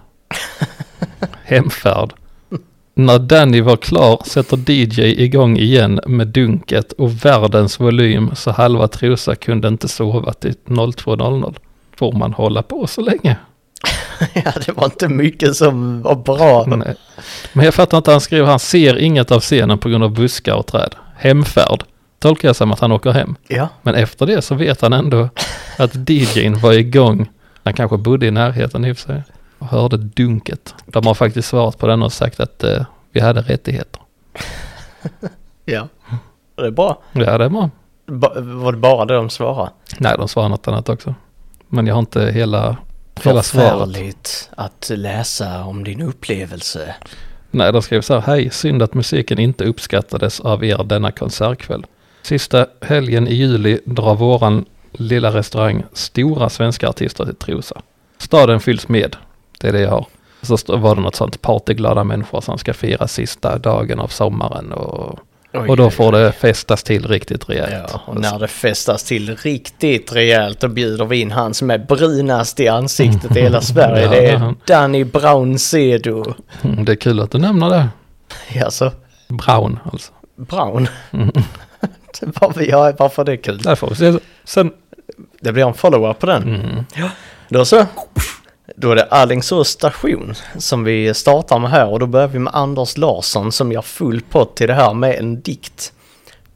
B: Hemfärd. När Danny var klar sätter DJ igång igen med dunket och världens volym så halva Trosa kunde inte sova till 02.00. Får man hålla på så länge?
A: ja, det var inte mycket som var bra.
B: Nej. Men jag fattar inte, han skrev han ser inget av scenen på grund av buskar och träd. Hemfärd. Tolkar jag som att han åker hem.
A: Ja,
B: Men efter det så vet han ändå att DJn var igång. Han kanske bodde i närheten i och för sig. Och hörde dunket. De har faktiskt svarat på den och sagt att eh, vi hade rättigheter.
A: ja. Det är bra.
B: Ja, det är bra.
A: Ba- var det bara det de svarade?
B: Nej, de svarar något annat också. Men jag har inte hela, hela svaret.
A: Förfärligt att läsa om din upplevelse.
B: Nej, de skrev så här. Hej, synd att musiken inte uppskattades av er denna konsertkväll. Sista helgen i juli drar våran lilla restaurang stora svenska artister till Trosa. Staden fylls med. Det är det jag har. Så st- var det något sånt partyglada människor som ska fira sista dagen av sommaren och,
A: Oj,
B: och då
A: oj,
B: får det festas till riktigt rejält.
A: Ja, och när det festas till riktigt rejält då bjuder vi in han som är brunast i ansiktet i hela Sverige.
B: <laughs> Ja,
A: det
B: det är
A: är
B: han.
A: Danny Browncedo.
B: Mm, Det är kul att du nämner det.
A: Alltså,
B: Brown alltså.
A: Brown.
B: Mm.
A: <laughs> varför, ja, varför är det kul?
B: Där får vi se. Sen,
A: Det blir en follow-up
B: Mm.
A: på den. Ja. Då så. Då är det Alingsås station som vi startar med här och då börjar vi med Anders Larsson som gör full pott till det här med en dikt.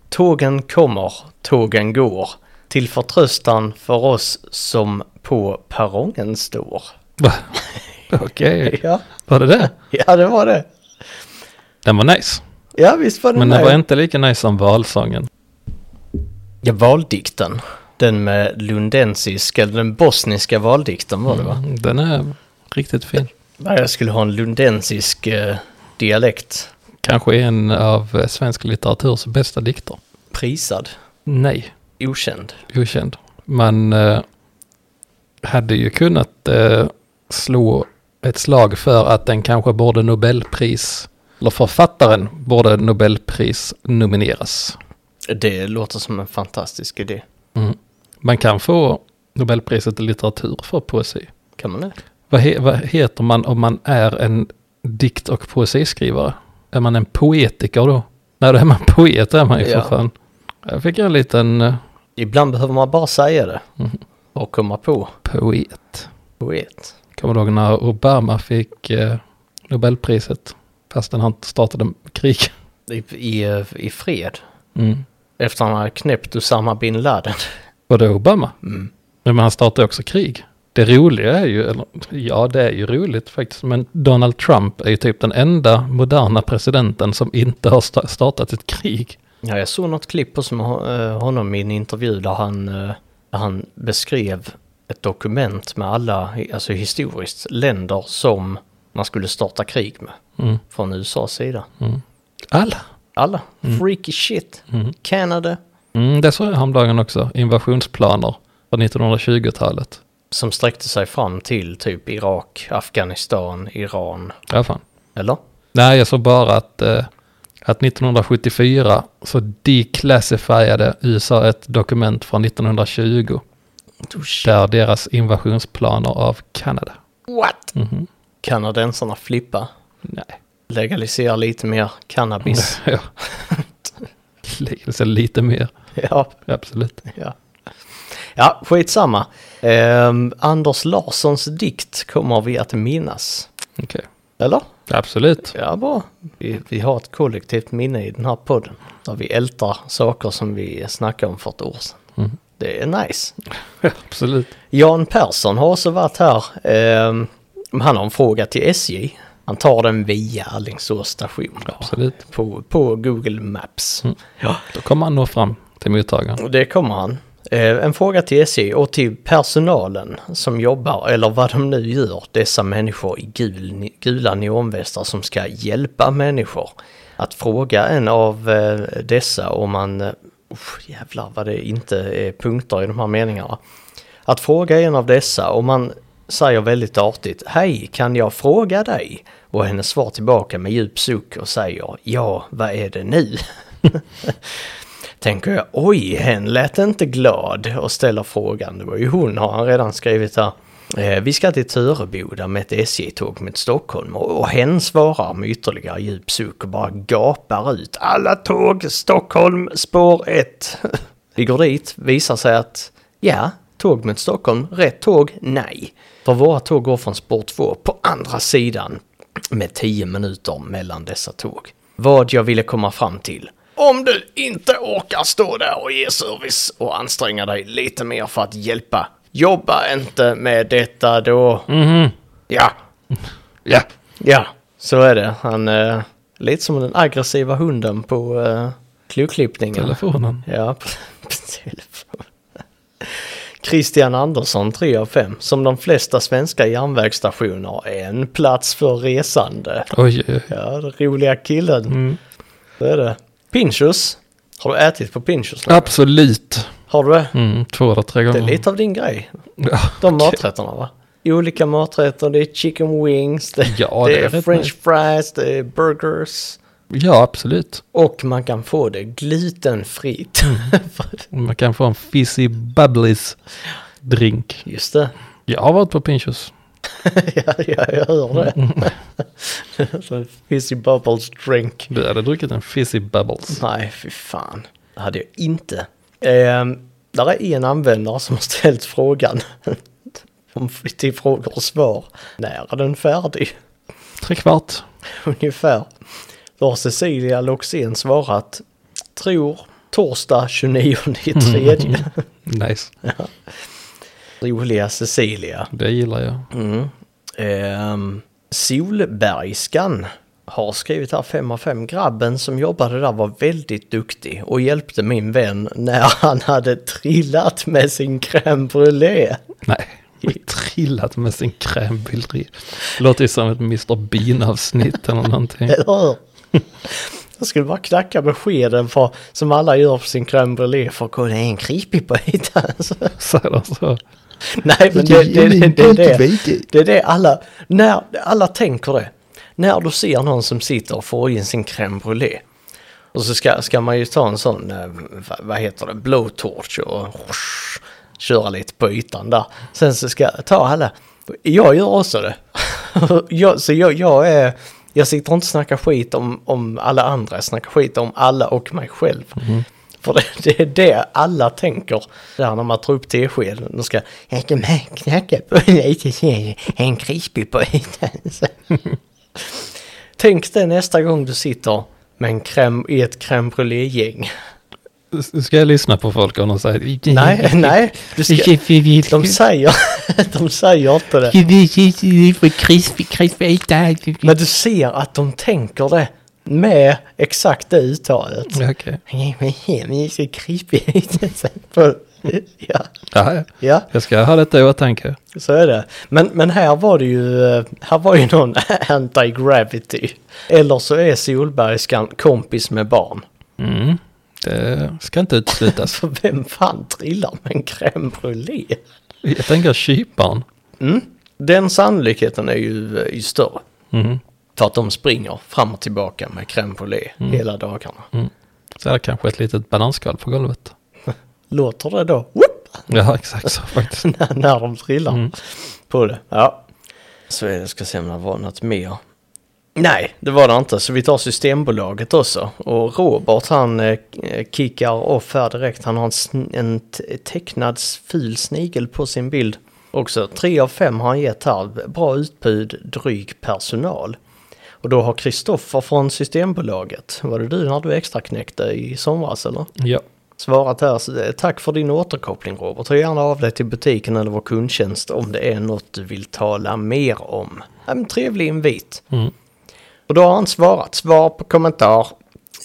A: Tågen kommer, tågen går, till förtröstan för oss som på perrongen står.
B: Va? <laughs> okej,
A: <laughs> Ja,
B: var det det?
A: ja det var det.
B: Den var nice.
A: Ja visst var det
B: Men
A: det.
B: den var inte lika nice som valsången.
A: Ja, valdikten. Den med lundensisk, eller den bosniska valdikten var det va?
B: Mm, Den är riktigt fin.
A: Nej, Jag skulle ha en lundensisk eh, dialekt.
B: Kanske en av eh, svensk litteraturs bästa dikter.
A: Prisad.
B: Nej,
A: okänd.
B: okänd. Man eh, hade ju kunnat eh, slå ett slag för att den kanske borde Nobelpris, eller författaren borde Nobelpris nomineras.
A: Det låter som en fantastisk idé.
B: Man kan få Nobelpriset i litteratur för poesi.
A: Kan man det?
B: Vad, he, vad heter man om man är en dikt och poesiskrivare? Är man en poetiker då? Nej, då är man poet är man ju
A: Ja.
B: för fan. Jag fick en liten eh,
A: Ibland behöver man bara säga det och komma på
B: poet.
A: poet.
B: Kommer du ihåg när Obama fick eh, Nobelpriset? Fastän han startade krig.
A: I, i, I fred.
B: Mm.
A: Efter han hade knäppt Usama bin Laden.
B: Var det Obama? Men han startade också krig. Det roliga är ju, eller ja det är ju roligt faktiskt, men Donald Trump är ju typ den enda moderna presidenten som inte har sta- startat ett krig.
A: Ja, jag såg något klipp på som, eh, honom i en intervju där han, eh, där han beskrev ett dokument med alla, alltså historiskt, länder som man skulle starta krig med.
B: Mm.
A: Från USAs sida.
B: Alla.
A: Alla. Freaky shit. Kanada.
B: Mm, det såg jag häromdagen också. Invasionsplaner från 1920-talet.
A: Som sträckte sig fram till typ Irak, Afghanistan, Iran.
B: Ja, fan.
A: Eller?
B: Nej, jag såg bara att, eh, att 1974 så declassifierade USA ett dokument från 1920 där deras invasionsplaner av Kanada. Mhm.
A: What? Kanadensarna flippa.
B: Nej,
A: Legalisera lite mer
B: <laughs>
A: cannabis.
B: ja. Lite- lite mer.
A: ja,
B: Absolut.
A: ja. Ja, skitsamma. Um, Anders Larssons dikt kommer vi att minnas.
B: Okej.
A: Eller?
B: Absolut.
A: Ja, bra. Vi, vi har ett kollektivt minne i den här podden. Där vi ältar saker som vi snackade om för ett år sedan. Det är nice.
B: Absolut.
A: Jan Persson har också varit här. Ehm, han har en fråga till SJ. Han tar den via Alingsås station.
B: Absolut.
A: På, på Google Maps. Ja.
B: Då kommer han nå fram till mottagaren.
A: Och det kommer han. Eh, en fråga till SJ och till personalen som jobbar, eller vad de nu gör, dessa människor i gul, gula neonvästar som ska hjälpa människor. Att fråga en av eh, dessa om man, eh, usch, jävlar vad det inte är punkter i de här meningarna. Att fråga en av dessa om man säger väldigt artigt Hej, kan jag fråga dig? Och hennes svar tillbaka med djup suck och säger Ja, vad är det nu? <laughs> Tänker jag, oj, hen lät inte glad och ställer frågan. Det var ju hon, har han redan skrivit här. Eh, vi ska till Töreboda med ett SJ-tåg mot Stockholm och, och hen svarar med ytterligare djup suck och bara gapar ut. Alla tåg, Stockholm, spår 1. <laughs> vi går dit, visar sig att ja, tåg mot Stockholm, rätt tåg, nej. För våra tåg går från spår 2 på andra sidan med 10 minuter mellan dessa tåg. Vad jag ville komma fram till. Om du inte orkar stå där och ge service och anstränga dig lite mer för att hjälpa, jobba inte med detta då.
B: Mm.
A: Ja,
B: Ja,
A: ja, så är det. Han är lite som den aggressiva hunden på eh, kloklippningen.
B: telefonen.
A: Ja, <laughs> på, på telefon. Christian Andersson 3 av 5, som de flesta svenska järnvägsstationer, är en plats för resande.
B: Oj, oj, oj.
A: Ja, den roliga killen. Det är det. Pinchos. Har du ätit på Pinchos? någon gång?
B: absolut.
A: Har du det?
B: Mm, två eller tre
A: Det
B: gånger.
A: är lite av din grej.
B: Ja,
A: De maträtterna va? Olika maträtter, det är chicken wings, det,
B: Ja,
A: det
B: det är
A: är
B: rätt
A: french fries, det är burgers.
B: ja, absolut.
A: Och man kan få det glutenfritt.
B: Man kan få en fizzy bubblies drink.
A: <laughs> Just det.
B: Jag har varit på Pinchos.
A: <laughs> ja, ja, jag hör <laughs> det. Fizzy bubbles drink.
B: Du hade druckit en fizzy bubbles.
A: Nej, fy fan. Det hade jag inte. Ehm, där är en användare som har ställt frågan. <laughs> Om till frågor och svar. När är den färdig? <laughs>
B: Tre kvart.
A: Ungefär. Då har Cecilia Loxén svarat. Tror torsdag 29 i tredje.
B: Nice.
A: Roliga Cecilia.
B: Det gillar jag.
A: Mm. Ehm, Solbergskan har skrivit här 5 av 5. Grabben som jobbade där var väldigt duktig och hjälpte min vän när <laughs> han hade trillat med sin crème brûlée.
B: Nej. Trillat med sin crème Låter ju som ett Mr Bean-avsnitt eller någonting.
A: Eller hur? <laughs> Jag skulle bara knacka med skeden för, som alla gör på sin crème brûlée för att kolla är en creepy på alltså.
B: Säger de så?
A: <laughs> Nej men det, det, det, det, det, det, det är det alla, när, alla tänker det. När du ser någon som sitter och får in sin crème brûlée. Och så ska, ska man ju ta en sån, eh, va- vad heter det, blowtorch och whoosh, köra lite på ytan där. Sen så ska jag ta alla, jag gör också det. <laughs> jag, så jag, jag är, jag sitter inte och snackar skit om, om alla andra, jag snackar skit om alla och mig själv. För det, det är det alla tänker. Där när man tar upp teskeden, de ska, jag ska knacka på lite, så är det eh, en krispig på ytan. <laughs> Tänk dig nästa gång du sitter med en crème, i ett crème brûlée-gäng.
B: Ska jag lyssna på folk om de säger...
A: Nej, <laughs> nej. Du ska, de säger, <laughs> de säger inte det. Men du ser att de tänker det med exakt det uttalet. <laughs>
B: Ja, Okej.
A: Ja,
B: Ja, ja.
A: ja,
B: Jag ska ha detta i åtanke.
A: så är det. Men, men här var det ju, eh, här var ju någon <laughs> anti-gravity. Eller så är Solbergskan kompis med barn. <laughs>
B: Mm. Det ska inte uteslutas.
A: För vem fan trillar med en crème brûlée?
B: Jag tänker kyparen.
A: Mm. Den sannolikheten är ju, är ju större.
B: Mm.
A: För att de springer fram och tillbaka med crème brûlée hela dagarna.
B: Så är det kanske ett litet bananskal på golvet.
A: Låter det då whoop,
B: Ja, exakt så
A: <laughs>
B: faktiskt.
A: när, när de trillar på det? Ja. Så är det, ska se om det var något mer. Nej, det var det inte. Så vi tar Systembolaget också. Och Robert han eh, kickar off här direkt. Han har en, sn- en te- tecknad ful snigel på sin bild. Också tre av fem har han gett här. Bra utbud, dryg personal. Och då har Kristoffer från Systembolaget, var det du när du extra knäckte i somras eller?
B: Ja.
A: svarat här. så, eh, Tack för din återkoppling Robert. Hör gärna av dig till butiken eller vår kundtjänst om det är något du vill tala mer om. En trevlig invit.
B: Mm.
A: Och då har han svarat. Svar på kommentar.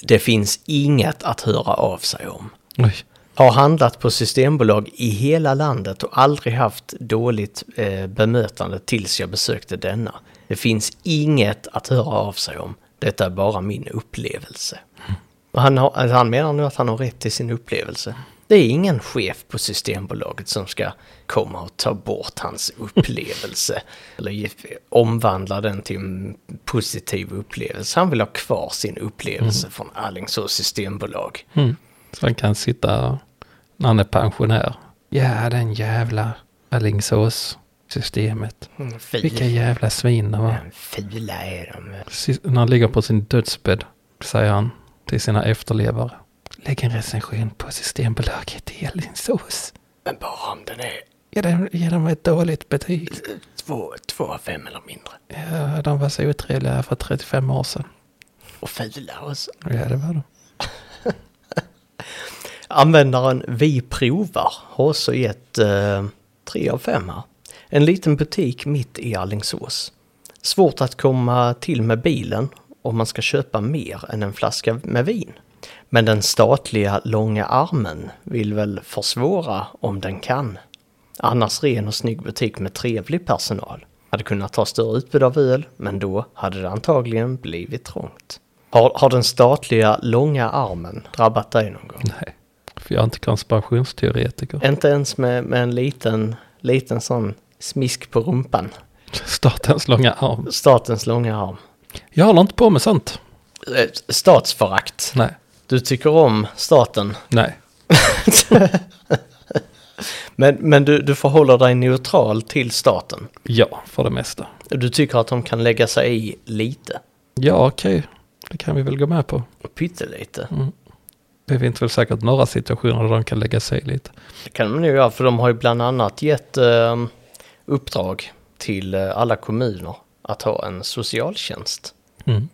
A: Det finns inget att höra av sig om.
B: Oj.
A: Har handlat på systembolag i hela landet och aldrig haft dåligt eh, bemötande tills jag besökte denna. Det finns inget att höra av sig om. Detta är bara min upplevelse. Och han, har, alltså han menar nu att han har rätt till sin upplevelse. Det är ingen chef på Systembolaget som ska komma och ta bort hans upplevelse. eller ge- omvandla den till en positiv upplevelse. Han vill ha kvar sin upplevelse från Alingsås Systembolag.
B: Mm. Så han kan sitta och- när han är pensionär. Ja, den jävla Alingsås-systemet.
A: Mm, Fy,
B: Vilka jävla svin de var.
A: Ja, Fula är de.
B: Precis När han ligger på sin dödsbädd säger han till sina efterlevare. Lägg en recension på Systembolaget i Alingsås.
A: Men bara om den är
B: Ge dem, ge dem ett dåligt betyg.
A: två, två av fem eller mindre.
B: Ja, de var så otrevliga för 35 år sedan.
A: Och fula också.
B: Ja, det var de.
A: Användaren Vi provar har också gett eh, 3 av 5 här. En liten butik mitt i Alingsås. Svårt att komma till med bilen om man ska köpa mer än en flaska med vin. Men den statliga långa armen vill väl försvåra om den kan. Annars ren och snygg butik med trevlig personal. Hade kunnat ta större utbud av öl, men då hade det antagligen blivit trångt. Har, har den statliga långa armen drabbat dig någon gång?
B: Nej, för jag är inte konspirationsteoretiker.
A: Inte ens med, med en liten, liten sån smisk på rumpan.
B: <laughs> Statens långa arm.
A: Statens långa arm.
B: Jag håller inte på med sånt.
A: Eh, Statsförakt.
B: Nej,
A: Du tycker om staten.
B: nej.
A: Men, men du, du förhåller dig neutral till staten.
B: Ja, för det mesta.
A: Du tycker att de kan lägga sig i lite.
B: Ja, okej. Det kan vi väl gå med på.
A: Pyttelite.
B: Det finns väl säkert några situationer där de kan lägga sig lite.
A: Det kan de nog göra för de har ju bland annat gett eh, uppdrag till eh, alla kommuner att ha en socialtjänst.
B: Mm.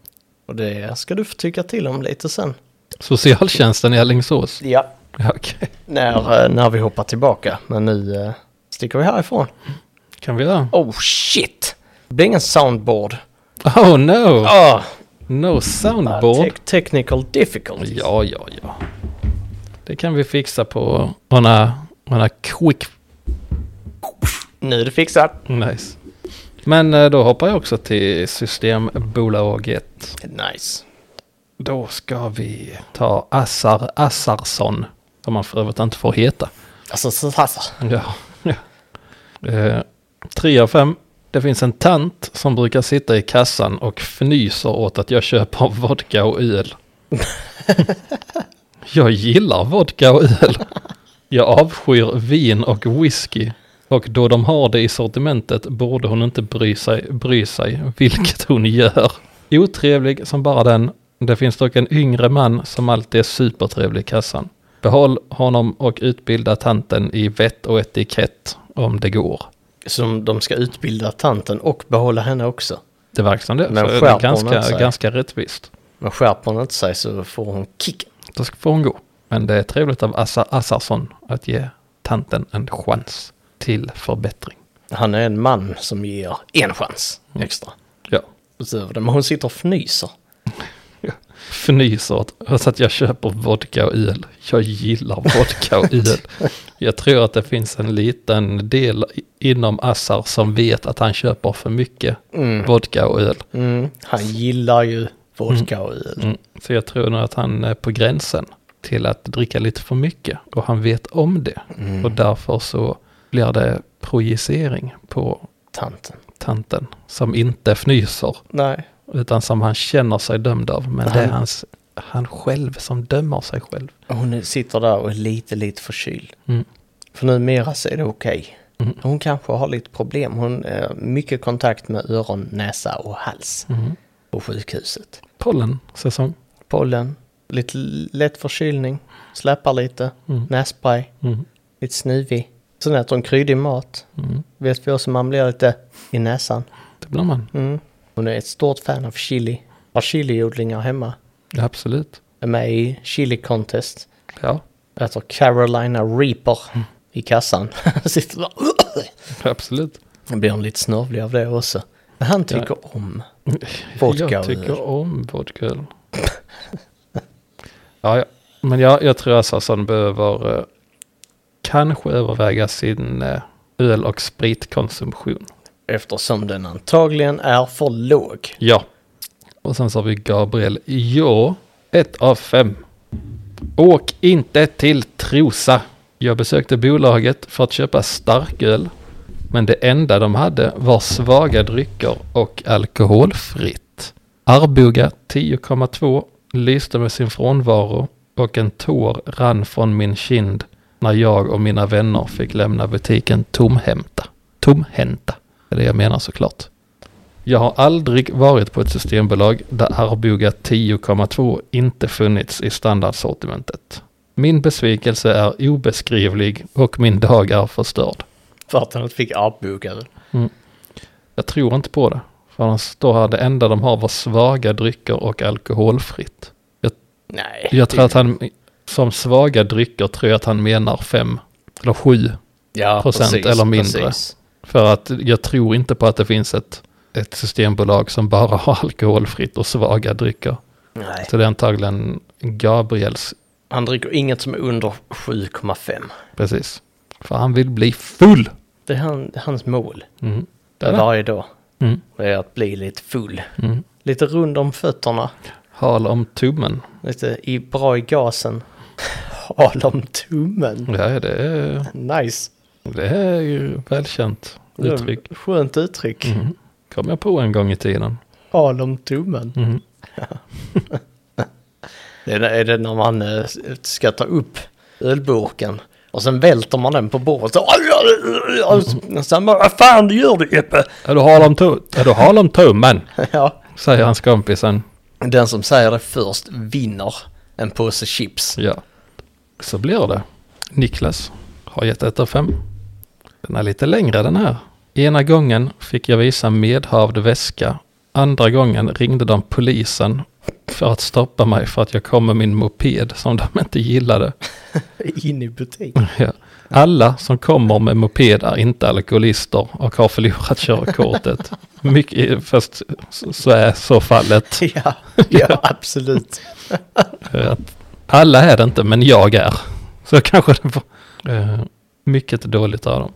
A: Och det ska du få tycka till om lite sen.
B: Socialtjänsten i Alingsås.
A: Ja,
B: Ja, okej.
A: när, eh, när vi hoppar tillbaka. Men nu eh, sticker vi härifrån.
B: Kan vi göra?
A: Oh shit! Det blir ingen soundboard.
B: Oh no!
A: Ah,
B: No soundboard.
A: te- technical difficulties.
B: Ja, ja, ja. Det kan vi fixa på några, några quick
A: Nu är det fixat.
B: Nice. Men eh, då hoppar jag också till Systembolaget.
A: Nice.
B: Då ska vi ta Assar Assarsson. Som man för övrigt inte får heta.
A: Alltså, så, så, så.
B: Ja. eh, tre av fem. Det finns en tant som brukar sitta i kassan och fnyser åt att jag köper <laughs> vodka och öl. jag gillar vodka och öl. Jag avskyr vin och whisky. Och då de har det i sortimentet borde hon inte bry sig, bry sig vilket hon gör. Otrevlig som bara den. Det finns dock en yngre man som alltid är supertrevlig i kassan. Behåll honom och utbilda tanten i vett och etikett om det går.
A: Som de ska utbilda tanten och behålla henne också.
B: Det verkar som det.
A: Men
B: Men så det
A: skärper
B: är
A: hon inte sig?
B: ganska, ganska rättvist.
A: Men skärper hon inte sig så får hon kick.
B: Då ska- får hon gå. Men det är trevligt av Assa Assarsson att ge tanten en chans till förbättring.
A: Han är en man som ger en chans extra.
B: Ja.
A: Utöver det. Men hon sitter och fnyser.
B: fnyser åt åt att jag köper vodka och öl. Jag gillar vodka och öl. Jag tror att det finns en liten del i- inom Assar som vet att han köper för mycket vodka och öl.
A: Mm. Han gillar ju vodka och öl.
B: Mm. Så jag tror nog att han är på gränsen till att dricka lite för mycket och han vet om det.
A: Mm.
B: Och därför så blir det projicering på
A: Tanten.
B: tanten som inte fnyser
A: Nej.
B: utan som han känner sig dömd av. Men det är
A: Han-
B: hans, han själv som dömer sig själv.
A: Hon sitter där och är lite, lite förkyld.
B: Mm.
A: För numera så är det okej.
B: Mm.
A: Hon kanske har lite problem. Hon har mycket kontakt med öron, näsa och hals
B: Mm.
A: på sjukhuset.
B: pollensäsong.
A: Pollen, lite l- lätt förkylning, släpar lite,
B: Mm.
A: nässpray,
B: Mm.
A: lite snuvig. Sen äter hon kryddig mat.
B: Mm.
A: Vet vi också man blir lite i näsan.
B: Det blir man.
A: Mm. Hon är ett stort fan av chili. Har chiliodlingar hemma.
B: Ja, absolut.
A: Är med i chili contest.
B: Ja,
A: Äter Carolina Reaper i kassan. <laughs> Sitter <clears throat> där.
B: <laughs> absolut.
A: Då blir hon lite snövlig av det också. Men han tycker om vodka
B: <laughs> jag
A: och öl.
B: tycker om vodka öl. <laughs> ja, ja, men jag, jag tror alltså att han behöver eh, kanske överväga sin eh, öl och spritkonsumtion.
A: Eftersom den antagligen är för låg.
B: Ja, Och sen så har vi Gabriel Jo. Ett av fem. Åk inte till Trosa. Jag besökte bolaget för att köpa starköl. Men det enda de hade var svaga drycker och alkoholfritt. Arboga 10,2 lyste med sin frånvaro och en tår rann från min kind när jag och mina vänner fick lämna butiken tomhämta. Tomhänta är det jag menar såklart. Jag har aldrig varit på ett systembolag där Arboga 10,2 inte funnits i standardsortimentet. Min besvikelse är obeskrivlig och min dag är förstörd.
A: För att han inte fick armbågare.
B: Jag tror inte på det. För de står här, det enda de har var svaga drycker och alkoholfritt.
A: Nej.
B: Jag tror
A: det-
B: att han, som svaga drycker tror jag att han menar fem eller sju.
A: ja,
B: procent eller mindre.
A: precis.
B: För att jag tror inte på att det finns ett, ett systembolag som bara har <laughs> alkoholfritt och svaga drycker.
A: Nej.
B: Så det är antagligen Gabriels,
A: Han dricker inget som är under 7,5.
B: precis. För han vill bli full.
A: Det är han, hans mål.
B: Mm.
A: Det är
B: Där.
A: varje dag.
B: Mm.
A: Det är att bli lite full.
B: Mm.
A: Lite rund om fötterna.
B: Hal om tummen.
A: Lite i, bra i gasen. <laughs> Hal om tummen.
B: Ja, det är,
A: Nice.
B: det är ju välkänt
A: Det är
B: uttryck.
A: ett Skönt uttryck.
B: Mm. Kom jag på en gång i tiden.
A: Hal om tummen. <laughs>
B: Mm.
A: Det är, är det när man eh, ska ta upp ölburken och sen välter man den på bordet. Så, aj, aj, aj, aj. Och sen bara, vad fan du gör det Jeppe?
B: Är du hal om, tu- är du hal om tummen?
A: <laughs> Ja.
B: Säger hans kompisen.
A: Den som säger det först vinner en påse chips.
B: Ja. Så blir det. Niklas har gett ett av fem. Den är lite längre den här. Ena gången fick jag visa medhavd väska. Andra gången ringde de polisen för att stoppa mig för att jag kom med min moped som de inte gillade.
A: In i butik. <laughs>
B: Ja. Alla som kommer med moped är inte alkoholister och har förlorat körkortet. Mycket, fast så- så är så fallet.
A: Ja, ja absolut.
B: Eh, att Alla är det inte, men jag är. Så <laughs> kanske det var eh, mycket dåligt av dem.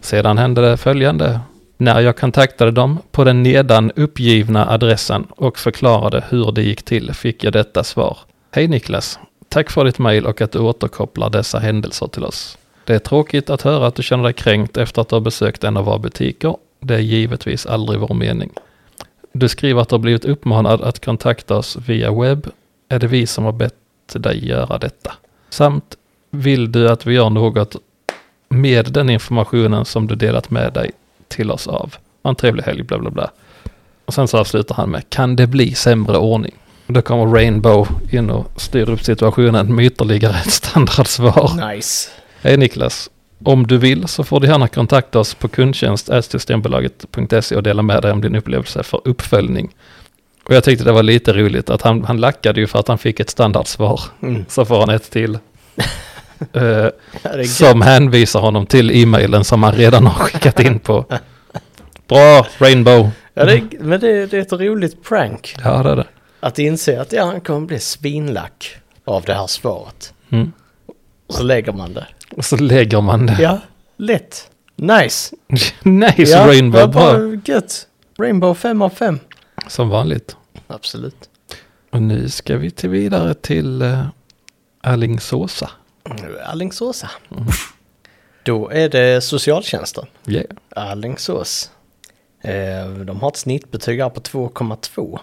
B: Sedan hände det följande. När jag kontaktade dem på den nedan uppgivna adressen och förklarade hur det gick till fick jag detta svar. Hej Niklas, tack för ditt mejl och att du återkopplar dessa händelser till oss. Det är tråkigt att höra att du känner dig kränkt efter att du har besökt en av våra butiker. Det är givetvis aldrig vår mening. Du skriver att du har blivit uppmanad att kontakta oss via webb. Är det vi som har bett dig göra detta? Samt vill du att vi gör något med den informationen som du delat med dig till oss av? Ha en trevlig helg, bla bla bla. Och sen så avslutar han med, kan det bli sämre ordning? Då kommer Rainbow in och styr upp situationen med ytterligare ett <laughs> standardsvar.
A: Nice.
B: Hej Niklas. Om du vill så får du gärna kontakta oss på kundtjänst.systembolaget.se och dela med dig om din upplevelse för uppföljning. Och jag tyckte det var lite roligt att han, han lackade ju för att han fick ett standardsvar.
A: Mm.
B: Så får han
A: <laughs>
B: ett till. Eh,
A: Ja, det är gött.
B: som hänvisar honom till e-mailen som han redan har skickat
A: <laughs>
B: in på. Bra Rainbow.
A: Ja, det är, men det, det är ett roligt prank.
B: Ja det är det.
A: Att inse att ja, han kommer bli svinlack av det här svaret.
B: Mm.
A: Och så lägger man det.
B: Och så lägger man <laughs> det.
A: Ja, lätt. Nice.
B: nice
A: ja,
B: Rainbow.
A: vad
B: Bra.
A: Gött. Rainbow 5 av 5.
B: Som vanligt.
A: Absolut.
B: Och nu ska vi till vidare till eh, Alingsåsa.
A: Nu är Alingsåsa. Då är det socialtjänsten.
B: Yeah.
A: Alingsås. Eh, De har ett snittbetyg här på 2,2.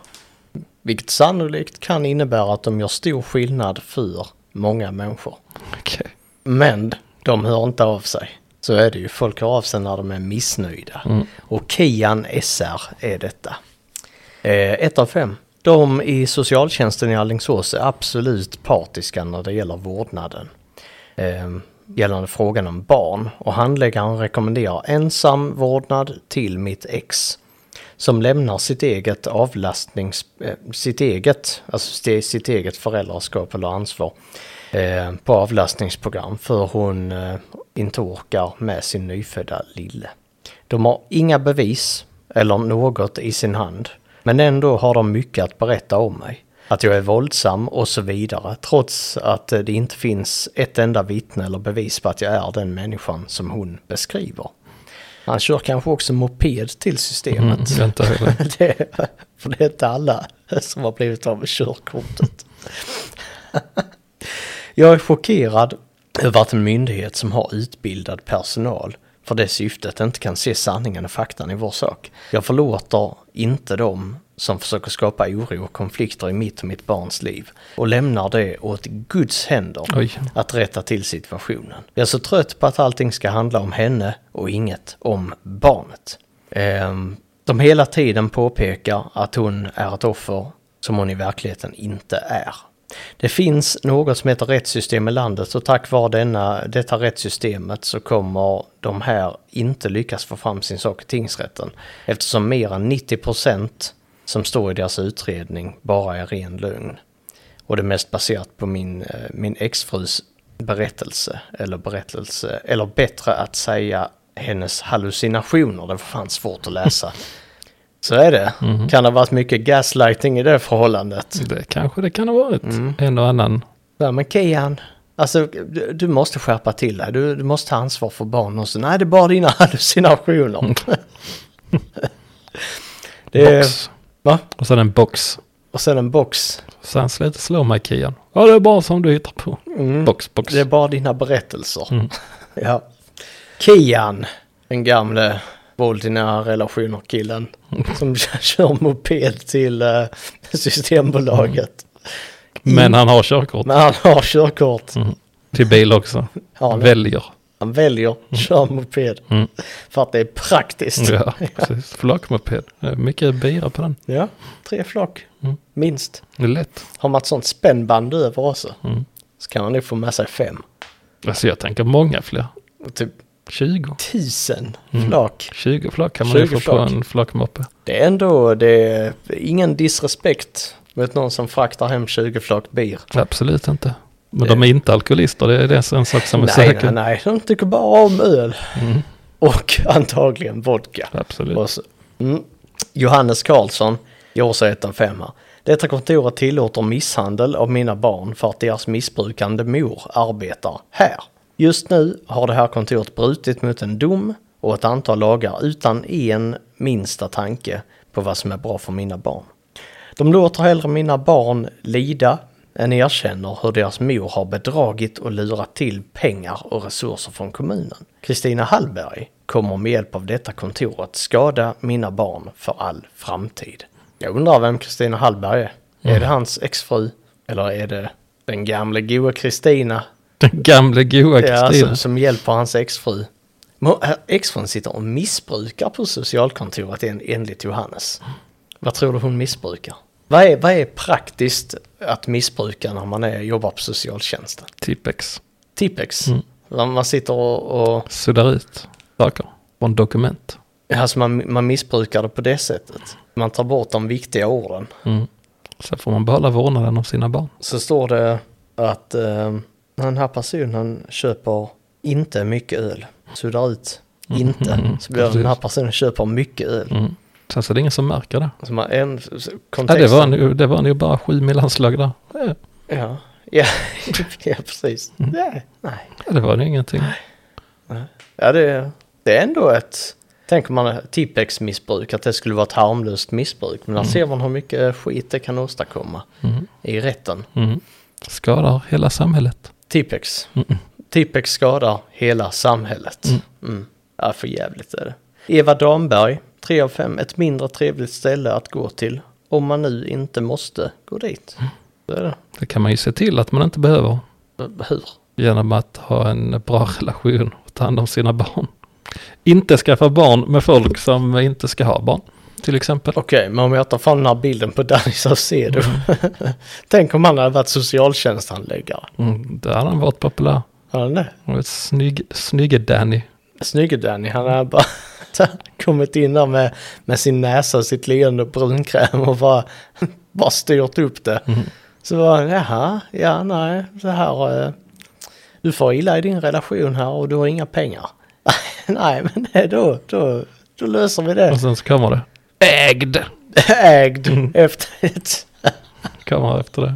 A: Vilket sannolikt kan innebära att de gör stor skillnad för många människor.
B: Okej.
A: Men de hör inte av sig. Så är det ju. Folk hör av sig när de är missnöjda. Och Kian SR är detta. Eh, ett av fem. De i socialtjänsten i Alingsås är absolut partiska när det gäller vårdnaden. Eh, gällande frågan om barn. Och handläggaren rekommenderar ensam vårdnad till mitt ex. Som lämnar sitt eget avlastnings... Eh, sitt eget, alltså sitt, sitt eget föräldraskap eller ansvar. Eh, på avlastningsprogram för hon eh, inte orkar med sin nyfödda lille. De har inga bevis eller något i sin hand. Men ändå har de mycket att berätta om mig. Att jag är våldsam och så vidare. Trots att eh, det inte finns ett enda vittne eller bevis på att jag är den människan som hon beskriver. Han kör kanske också moped till systemet.
B: Mm. Vänta, hur är
A: <laughs>
B: det?
A: det, För det är inte alla som har blivit av med körkortet. <laughs> Jag är chockerad över att en myndighet som har utbildad personal för det syftet inte kan se sanningen och faktan i vår sak. Jag förlåter inte dem som försöker skapa oro och konflikter i mitt och mitt barns liv och lämnar det åt Guds händer
B: Oj.
A: att rätta till situationen. Jag är så trött på att allting ska handla om henne och inget om barnet. Ehm, de hela tiden påpekar att hon är ett offer som hon i verkligheten inte är. Det finns något som heter rättssystem i landet och tack vare denna, detta rättssystemet så kommer de här inte lyckas få fram sin sak i tingsrätten. Eftersom mer än 90 procent som står i deras utredning bara är ren lögn. Och det är mest baserat på min, eh, min exfrus berättelse, eller berättelse, eller bättre att säga hennes hallucinationer, det var fan svårt att läsa. Så är det. Kan det ha varit mycket gaslighting i det förhållandet?
B: Det kanske det kan ha varit.
A: Mm.
B: En och annan.
A: Ja, men Kian, alltså du, du måste skärpa till dig. Du, du måste ta ansvar för barnen och så. Nej, det är bara dina <laughs> hallucinationer. <laughs> det är,
B: Box.
A: va?
B: Och sen en box.
A: Och sen en box.
B: Sen sluta slå mig Kian. Ja det är bara som du hittar på. Box, box.
A: Mm. Det är bara dina berättelser. <laughs> Ja. Kian, den gamle våld i nära relationer-killen som <laughs> kör moped till eh, Systembolaget.
B: Men han har körkort.
A: Men han har körkort.
B: Till bil också.
A: Ja, han-
B: Väljer.
A: Han väljer att köra moped för att det är praktiskt.
B: Ja, precis. Flakmoped. Det är Mycket bira på den.
A: Ja, tre flak, minst.
B: Det är lätt.
A: Har man ett sånt spännband över också så kan man nog få med sig fem.
B: Alltså jag tänker många fler.
A: Och typ
B: 20.
A: tusen flak.
B: 20 flak kan man ju
A: 20
B: få
A: flak.
B: på en flakmoppe.
A: Det är ändå, det är ingen disrespekt mot någon som fraktar hem 20 flak bier.
B: Absolut inte. Men de är inte alkoholister. Det är det är en sak som är
A: Nej, nej,
B: säker.
A: nej, de tycker bara om öl. Och <laughs> antagligen vodka.
B: Absolut.
A: Och så- Mm. Johannes Karlsson, jag har sett en femma. Detta kontoret tillåter misshandel av mina barn för att deras missbrukande mor arbetar här. Just nu har det här kontoret brutit mot en dom och ett antal lagar utan en minsta tanke på vad som är bra för mina barn. De låter hellre mina barn lida än erkänner hur deras mor har bedragit och lurat till pengar och resurser från kommunen. Kristina Hallberg kommer med hjälp av detta kontor att skada mina barn för all framtid. Jag undrar vem Kristina Hallberg är. Är det hans exfru? Eller är det den gamle goa Kristina?
B: Den gamle goa
A: Ja, alltså- som,
B: Kristina.
A: som hjälper hans exfru. Men, äh, Exfrun sitter och missbrukar på socialkontoret en, enligt Johannes. Vad tror du hon missbrukar? Vad är, vad är praktiskt att missbruka när man är, jobbar på socialtjänsten?
B: Tippex.
A: Tippex. Man, man sitter och... och
B: Suddar ut saker från dokument.
A: alltså man, man missbrukar det på det sättet. Man tar bort de viktiga orden.
B: Sen får man behålla vårdnaden av sina barn.
A: Så står det att eh, den här personen köper inte mycket öl. Suddar ut inte. Så blir det den här personen köper mycket öl.
B: Sen så är det ingen som märker det.
A: Som har en
B: Ja,
A: kontext.
B: det, var nu, det var nu bara sju mellanslag där. Ja,
A: Ja, <laughs> ja, ja precis.
B: Mm.
A: Ja, nej.
B: det var nu ingenting.
A: Ja, det, det är ändå ett... Tänker man Tippex-missbruk, att det skulle vara ett harmlöst missbruk. Men där
B: Mm.
A: ser man hur mycket skit det kan åstadkomma i rätten.
B: Mm. Skadar hela samhället.
A: Tippex. Tippex skadar hela samhället. Mm. Ja, för jävligt är det. Eva Damberg, 3 av 5, ett mindre trevligt ställe att gå till. Om man nu inte måste gå dit.
B: Mm.
A: Så är det.
B: Det kan man ju se till att man inte behöver
A: Hur?
B: genom att ha en bra relation och ta hand om sina barn. Inte skaffa barn med folk som inte ska ha barn, till exempel.
A: Okej, men om jag tar fram den här bilden på Danny Saucedo. <laughs> Tänk om han hade varit socialtjänsthandläggare.
B: Mm, där hade han varit populär.
A: Hade han det?
B: Han var ett Snygg, snygge Danny.
A: Snygge Danny, han hade bara <laughs> kommit in där med, med sin näsa och sitt leende och brunkräm och bara, <laughs> bara styrt upp det. Så var han, jaha, ja nej, så här, eh, du får illa i din relation här och du har inga pengar. <laughs> nej, men det- då, då, då löser vi det.
B: Och sen så kommer det. Ägd!
A: <laughs> Ägd efter ett
B: Kommer efter det.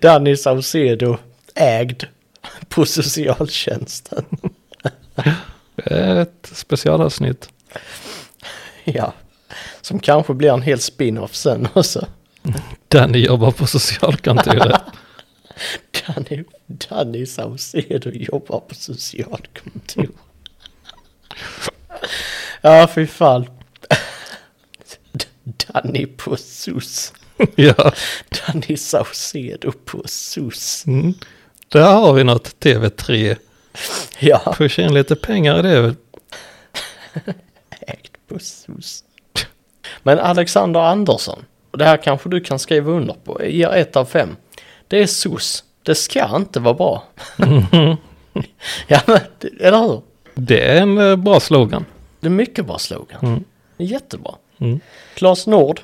A: Danny Saucedo ägd <laughs> på socialtjänsten. <laughs>
B: Ett specialavsnitt.
A: Ja. Som kanske blir en hel spin-off sen också.
B: Danny jobbar på socialkontoret.
A: Danny, Danny Saucedo jobbar på socialkontor. <laughs> ja, fy fan. <laughs> D- Danny på SOS.
B: ja.
A: Danny Saucedo på SOS.
B: Mm. Där har vi något TV3.
A: Ja,
B: Pusha in lite pengar i det. är väl-
A: ägt på SOS. Men Alexander Andersson, och det här kanske du kan skriva under på, ger ett av fem. Det är SOS. Det ska inte vara bra. ja, men, eller hur?
B: Det är en eh, bra slogan.
A: Det är mycket bra slogan.
B: Mm.
A: Det är Jättebra.
B: Mm.
A: Claes Nord,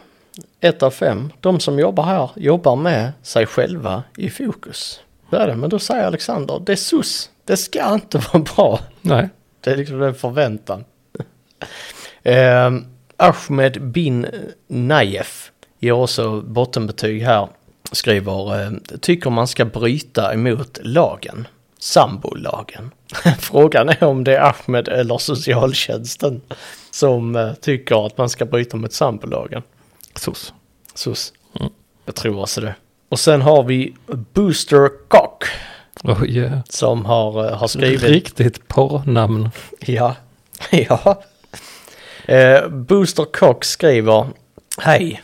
A: ett av fem. De som jobbar här jobbar med sig själva i fokus. Det är det, men då säger Alexander, det är sus. Det ska inte vara bra.
B: Nej.
A: Det är liksom den förväntan. <laughs> Ehm, Ahmed bin Nayef ger också bottenbetyg här. Skriver, ehm, tycker man ska bryta emot lagen. Sambolagen. <laughs> Frågan är om det är Ahmed eller socialtjänsten som eh, tycker att man ska bryta mot sambolagen.
B: Sos.
A: Sus. Jag tror alltså det. Och sen har vi Booster Cock
B: Oh, yeah.
A: som har, eh, har skrivit <laughs>
B: Riktigt porrnamn.
A: Ja, ja. Eh, Booster Cox skriver Hej,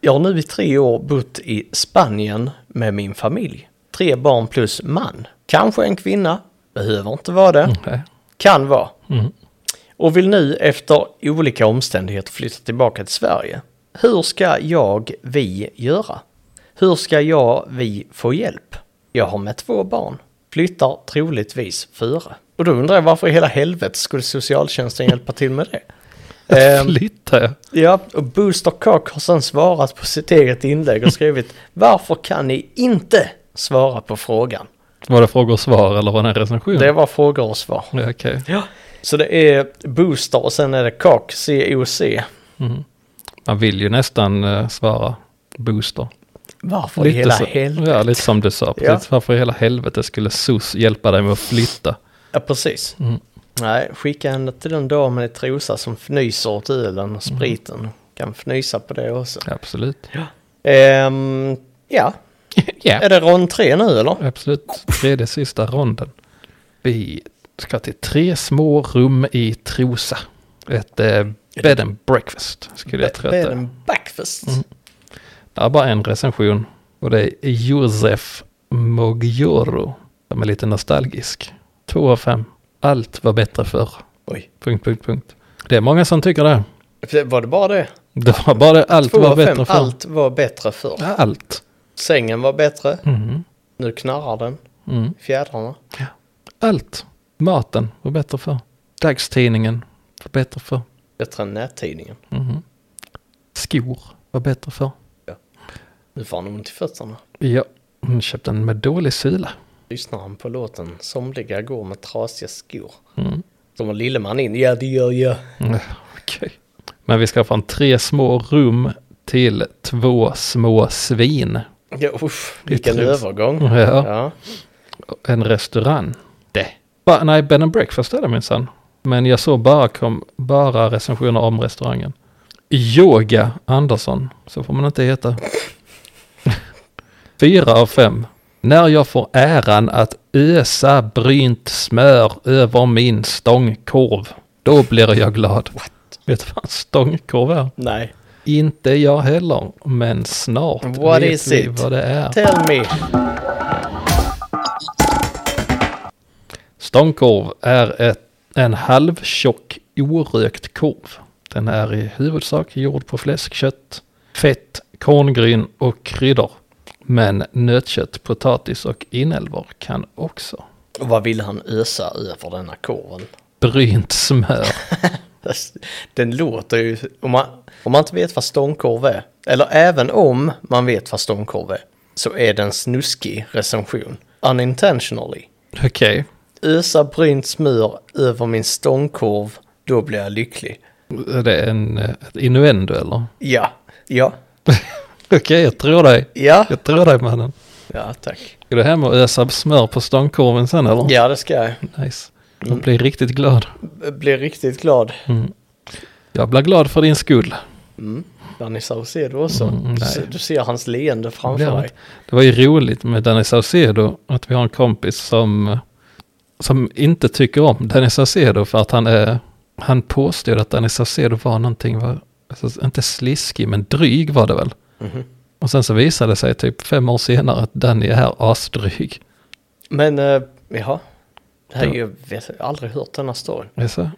A: jag har nu i tre år bott i Spanien med min familj. Tre barn plus man. Kanske en kvinna, behöver inte vara det,
B: Nej.
A: kan vara.
B: Mm.
A: Och vill nu efter olika omständigheter flytta tillbaka till Sverige. Hur ska jag, vi göra? Hur ska jag, vi få hjälp? Jag har med två barn. Flyttar troligtvis fyra. Och då undrar jag varför i hela helvetet skulle socialtjänsten hjälpa till med det?
B: <laughs>
A: Ehm,
B: Flyttar jag?
A: Ja, och Booster Cock har sen svarat på sitt eget inlägg och skrivit <laughs> Varför kan ni inte svara på frågan?
B: Var det frågor och svar eller var det en recension?
A: Det var frågor och svar.
B: Ja, Okej.
A: Så det är Booster och sen är det Cock, C-O-C.
B: Man vill ju nästan eh, svara booster.
A: Varför i hela
B: så,
A: helvetet?
B: Ja, lite som du sa.
A: Ja.
B: Precis. Varför i hela helvete skulle SOS hjälpa dig med att flytta?
A: Ja, precis.
B: Mm.
A: Nej, skicka henne till den damen i Trosa som fnyser åt
B: Mm.
A: ölen och spriten. Kan fnysa på det också.
B: Absolut.
A: Ehm, ja, är
B: <laughs> ja.
A: det rond tre nu eller?
B: Absolut. Tredje sista ronden. Vi ska till tre små rum i Trosa. Ett eh, bed and breakfast skulle jag tro att det
A: är
B: är.
A: en backfest.
B: Mm. Det är bara en recension. Och det är Josef Mogioro. Som är lite nostalgisk. Två av fem. Allt var bättre förr.
A: Oj,
B: Punkt, punkt, punkt. Det är många som tycker det.
A: var det bara det?
B: Det var bara det. Allt
A: Två
B: var
A: av
B: bättre
A: fem,
B: förr.
A: allt var bättre förr.
B: Ja, Allt.
A: Sängen var bättre,
B: Mhm.
A: nu knarrar den
B: Mm.
A: i fjädrarna.
B: Allt. Maten var bättre förr. Dagstidningen var bättre förr.
A: Bättre än nättidningen.
B: Mhm. Skor var bättre förr.
A: Nu får han ont i fötterna.
B: Ja, hon köpte en med dålig sula.
A: Lyssnar han på låten Somliga går med trasiga skor.
B: Mm.
A: Som en lilleman in, ja det gör jag.
B: Mm, Okej. Men vi ska från tre små rum till två små svin.
A: Ja, usch, vilken
B: trivs.
A: övergång.
B: Mm. Ja.
A: Ja.
B: En restaurang. Det. Ba, nej, bed and breakfast är det minsann. Men jag såg bara, kom, bara recensioner om restaurangen. Yoga Andersson, så får man inte heta. <laughs> Fyra av fem. När jag får äran att ösa brynt smör över min stångkorv, då blir jag glad. Vet du vad en stångkorv är?
A: Nej.
B: Inte jag heller, men snart
A: What
B: vet
A: is
B: vi
A: it?
B: vad det är.
A: Tell me.
B: Stångkorv är ett, en halvtjock orökt korv. Den är i huvudsak gjord på fläskkött, fett, korngryn och kryddor. Men nötkött, potatis och inälvor kan också.
A: Och vad vill han ösa över denna korven?
B: Brynt smör. <laughs>
A: Den låter ju... Om man, om man inte vet vad stångkorv är, eller även om man vet vad stångkorv är, så är det en snuskig recension. Unintentionally.
B: Okej,
A: Ösa brynt smör över min stångkorv, då blir jag lycklig.
B: det är en eh, ett innuendo eller?
A: Ja. Ja.
B: Okej, jag tror dig.
A: Ja.
B: Jag tror dig mannen.
A: Ja, tack.
B: Ska du hem och ösa smör på stångkorven sen eller?
A: Ja, det ska jag.
B: Nice. Jag blir riktigt glad.
A: Blir riktigt glad.
B: Jag blir glad för din skull.
A: Mm. Danny Saucedo också.
B: Mm, nej.
A: du, ser- du ser hans leende framför
B: Det var
A: dig.
B: Det var ju roligt med Danny Saucedo att vi har en kompis som, som inte tycker om Danny Saucedo för att han är, han påstod att Danny Saucedo var någonting, var, alltså, inte sliskig men dryg var det väl.
A: Mhm.
B: Och sen så visade det sig typ fem år senare att Danny är asdryg.
A: Men, eh, jaha. Det här är
B: Ja.
A: ju, jag vet- jag har aldrig hört denna story.
B: Visst? Eh,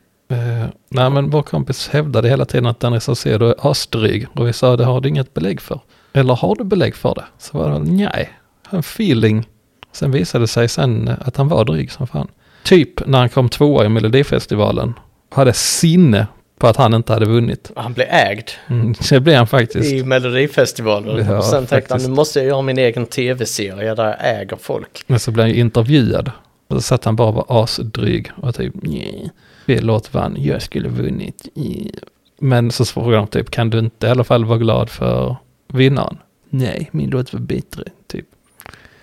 B: nej men vår kompis hävdade hela tiden att Danny Saucedo är asdryg och vi sa det har du inget belägg för. Eller har du belägg för det? Så var det nej, en feeling. Sen visade det sig sen eh, att han var dryg som fan. Typ när han kom tvåa i Melodifestivalen. Hade sinne på att han inte hade vunnit.
A: Han blev ägd
B: Mm, <laughs> det blev han faktiskt.
A: i Melodifestivalen.
B: Ja,
A: och sen tänkte han,
B: faktiskt.
A: nu måste jag göra min egen tv-serie där jag äger folk.
B: Men så blev han ju intervjuad. Och så satt han bara och var asdryg och typ "Nej, fel låt vann, jag skulle vunnit. Nej." Men så frågade de typ, kan du inte i alla fall vara glad för vinnaren? Nej, min låt var bättre, typ.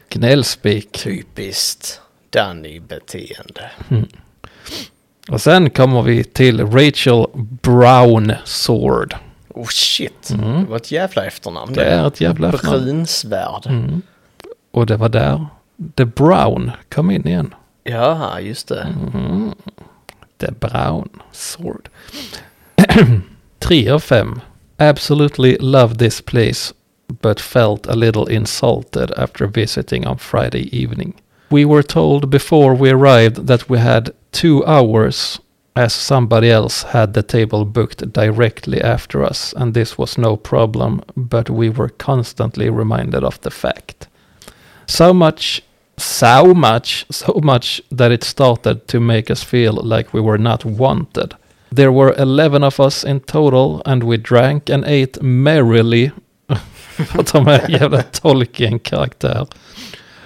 B: Gnällspik.
A: Typ. Typiskt Danny-beteende.
B: Och sen kommer vi till Rachel Brown Sword.
A: Oh shit,
B: Mm.
A: det var ett jävla efternamn.
B: Det är ett jävla efternamn.
A: Brunsvärd.
B: mm. Och det var där The Brown kom in igen.
A: Ja, just det.
B: Mm. The Brown Sword. <clears throat> Tre av fem. Absolutely loved this place but felt a little insulted after visiting on Friday evening. We were told before we arrived that we had two hours as somebody else had the table booked directly after us and this was no problem but we were constantly reminded of the fact. So much so much, so much that it started to make us feel like we were not wanted. There were 11 of us in total and we drank and ate merrily. <laughs> För att de är jävla Tolkien-karaktär.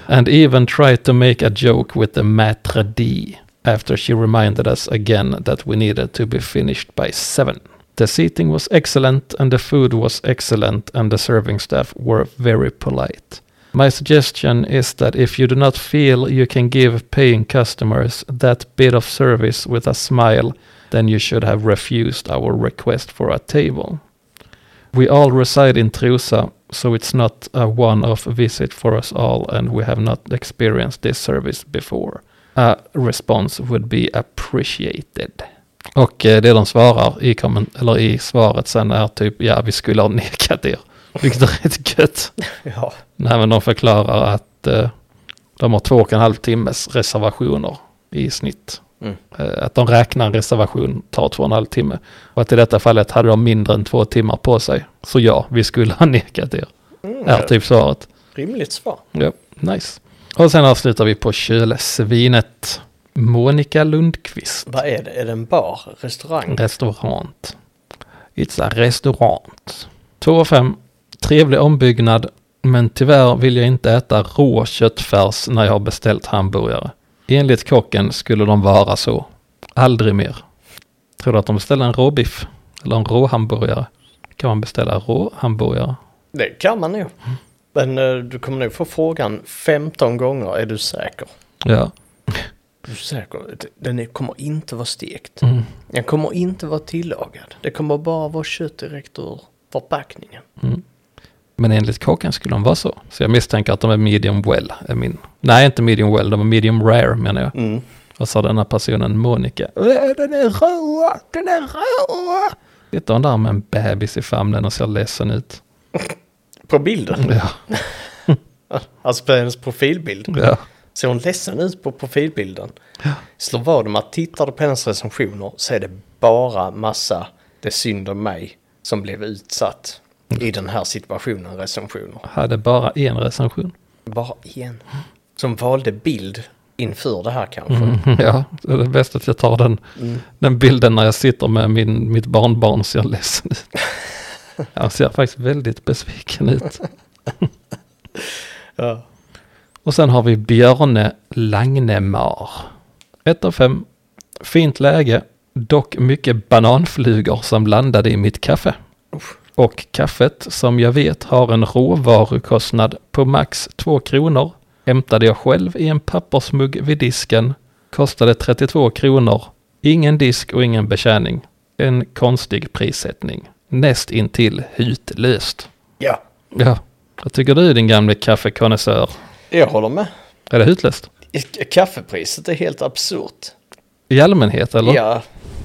B: And even tried to make a joke with the maitre d after she reminded us again that we needed to be finished by seven. The seating was excellent and the food was excellent and the serving staff were very polite. My suggestion is that if you do not feel you can give paying customers that bit of service with a smile, then you should have refused our request for a table. We all reside in Trosa, so it's not a one off visit for us all, and we have not experienced this service before. A response would be appreciated. Och eh, det de svarar i, komment- eller i svaret sen är typ ja, vi skulle ha <laughs> nekat er. Vilket är rätt gött.
A: Ja.
B: Nej, men de förklarar att eh, de har två och en halv timmes reservationer i snitt.
A: Mm.
B: Eh, att de räknar en reservation tar två och en halv timme. Och att i detta fallet hade de mindre än två timmar på sig. Så ja, vi skulle ha <laughs> nekat er. Är typ svaret.
A: Rimligt svar.
B: Ja, nice. Och sen avslutar vi på kylsvinet. Monica Lundqvist.
A: Vad är det? Är det en bar? Restaurang?
B: Restaurant. It's a restaurant. 2 fem. Trevlig ombyggnad, men tyvärr vill jag inte äta rå köttfärs när jag har beställt hamburgare. Enligt kocken skulle de vara så. Aldrig mer. Tror du att de beställer en råbiff? Eller en råhamburgare? Kan man beställa råhamburgare?
A: Det kan man nog. Men eh, du kommer nog få frågan 15 gånger. Är du säker?
B: Ja.
A: Du är säker? D- Den är, kommer inte vara stekt.
B: Mm.
A: Den kommer inte vara tillagad. Det kommer bara vara kött direkt ur förpackningen.
B: Men enligt kocken skulle de vara så. Så jag misstänker att de är medium well. Är min. Nej, inte medium well, de är medium rare menar jag.
A: Mm.
B: Och så den här personen Monica. "Äh, Den är rå, den är rå. Sitter hon där med en bebis i famnen och ser ledsen ut. <laughs>
A: På bilden?
B: Ja,
A: Alltså på hennes profilbild.
B: ja.
A: Ser hon ledsen ut på profilbilden? Slår vad om att tittar du på hennes recensioner så är det bara massa det är synd om mig som blev utsatt i den här situationen recensioner.
B: Hade bara en recension.
A: Bara en. Som valde bild inför det här kanske.
B: Mm. <laughs> Ja, så det är bäst att jag tar den, den bilden när jag sitter med min, mitt barnbarn ser ledsen ut. Han ser faktiskt väldigt besviken ut.
A: Ja.
B: Och sen har vi Björne Langnemar. 1 av 5. Fint läge, dock mycket bananflugor som landade i mitt kaffe. Och kaffet, som jag vet har en råvarukostnad på max 2 kronor, hämtade jag själv i en pappersmugg vid disken. Kostade 32 kronor. Ingen disk och ingen betjäning. En konstig prissättning. näst intill hutlöst.
A: Ja.
B: Ja, vad tycker du din gamle kaffekonnässör?
A: Jag håller med.
B: Är det hutlöst?
A: K- Kaffepriset är helt absurt.
B: I allmänhet eller?
A: Ja.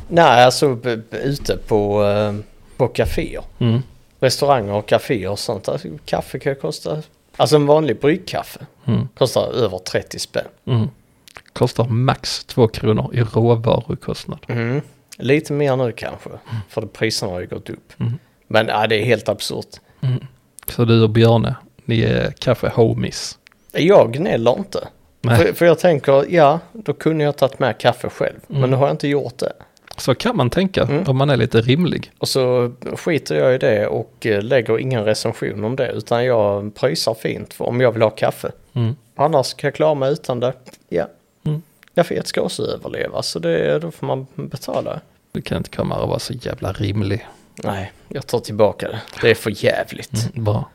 A: Nej, alltså b- b- ute på, eh, på kaféer.
B: Mm.
A: Restauranger och kaféer och sånt. Alltså, kaffe kan ju kosta... Alltså en vanlig bryggkaffe
B: Mm.
A: kostar över 30 spänn.
B: Mm. Kostar max två kronor i råvarukostnad.
A: Mm. Lite mer nu kanske, för priserna har ju gått upp.
B: Mm.
A: Men ja, det är helt absurt.
B: Så du och Björne, ni är kaffe-homies.
A: Jag gnäller inte.
B: Nej.
A: För, för jag tänker, ja, då kunde jag tagit med kaffe själv.
B: Mm.
A: Men nu har jag inte gjort det.
B: Så kan man tänka
A: Mm.
B: om man är lite rimlig.
A: Och så skiter jag i det och eh, lägger ingen recension om det. Utan jag pröjsar fint för om jag vill ha kaffe.
B: Mm.
A: Annars kan jag klara mig utan det. Ja.
B: Mm.
A: Kaffet ska också överleva, så det, då får man betala.
B: Du kan inte komma och vara så jävla rimlig.
A: Mm. Nej, jag tar tillbaka det. Det är för jävligt.
B: Mm. Bra.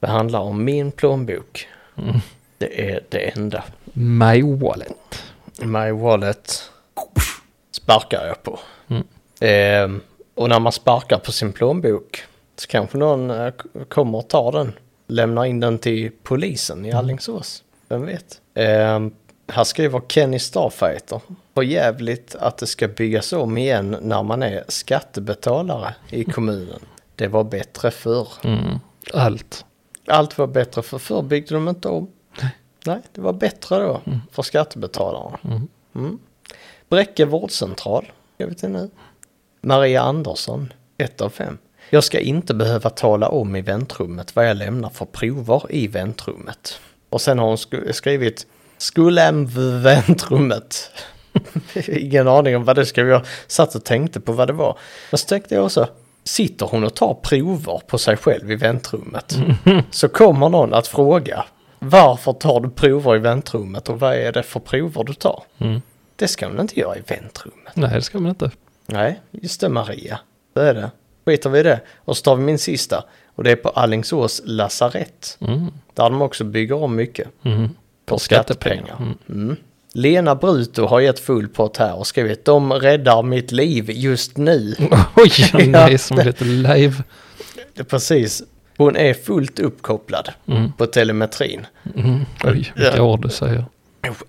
A: Det handlar om min plånbok.
B: Mm.
A: Det är det enda.
B: My wallet.
A: My wallet sparkar jag på.
B: Mm.
A: Ehm, och när man sparkar på sin plånbok så kanske någon eh, k- kommer och tar den. Lämnar in den till polisen i Alingsås. Vem vet? Ehm, här skriver Kenny Starfighter. För jävligt att det ska byggas om igen när man är skattebetalare i kommunen. Det var bättre förr.
B: Mm. Allt.
A: Allt var bättre för förr byggde de inte om. Nej, det var bättre då för skattebetalarna. Mm. Bräcke vårdcentral, jag vet inte nu. Maria Andersson, ett av fem. Jag ska inte behöva tala om i väntrummet vad jag lämnar för prover i väntrummet. Och sen har hon sk- skrivit skulle m- väntrummet. <laughs> Ingen aning om vad det ska vara. Jag satt och tänkte på vad det var. Men så tänkte jag också, sitter hon och tar prover på sig själv i väntrummet? Så kommer någon att fråga, varför tar du prover i väntrummet och vad är det för prover du tar? Det ska hon inte göra i väntrummet.
B: Nej, det ska man inte.
A: Nej, just det Maria. Det är det. Skiter vi i det. Och så tar vi min sista. Och det är på Allingsås lasarett.
B: Mm.
A: Där de också bygger om mycket. På skattepengar. Mm. Lena Bruto har gett full pott här och skrivit de räddar mitt liv just nu.
B: Mm.
A: <laughs>
B: Oj, <laughs>
A: Ja.
B: nej, som lite live.
A: Det är Precis. Hon är fullt uppkopplad på telemetrin.
B: Mm. Oj, vilka ord du säger.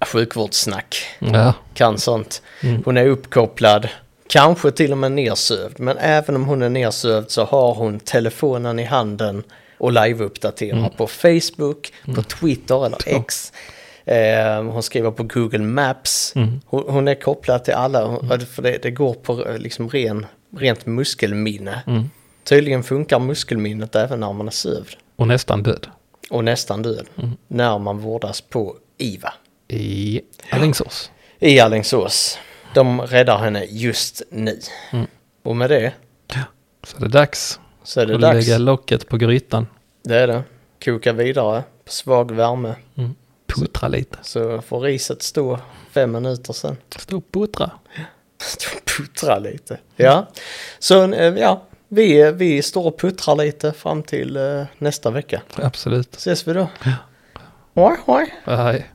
A: Sjukvårdssnack.
B: Ja.
A: kan sånt. Hon är uppkopplad, kanske till och med nersövd, men även om hon är nersövd så har hon telefonen i handen och live-uppdaterar på Facebook, på Twitter eller X. Eh, hon skriver på Google Maps. Hon, hon är kopplad till alla, hon- för det, det går på eh, liksom ren, rent muskelminne. Tydligen funkar muskelminnet även när man är sövd
B: Och nästan död.
A: och nästan död när man vårdas på IVA
B: I Alingsås.
A: i Alingsås. De räddar henne just nu. Och med det
B: Så det är dags
A: så är det
B: att
A: dags.
B: lägga locket på grytan.
A: Det är det. Koka vidare på svag värme.
B: Puttra lite.
A: Så får riset stå fem minuter sen. <laughs>
B: Stå och puttra.
A: Stå och puttra lite. Ja, så eh, ja, vi, eh, vi står och puttrar lite fram till eh, nästa vecka.
B: Absolut.
A: Ses vi då. Hoj, hoj.
B: Nej.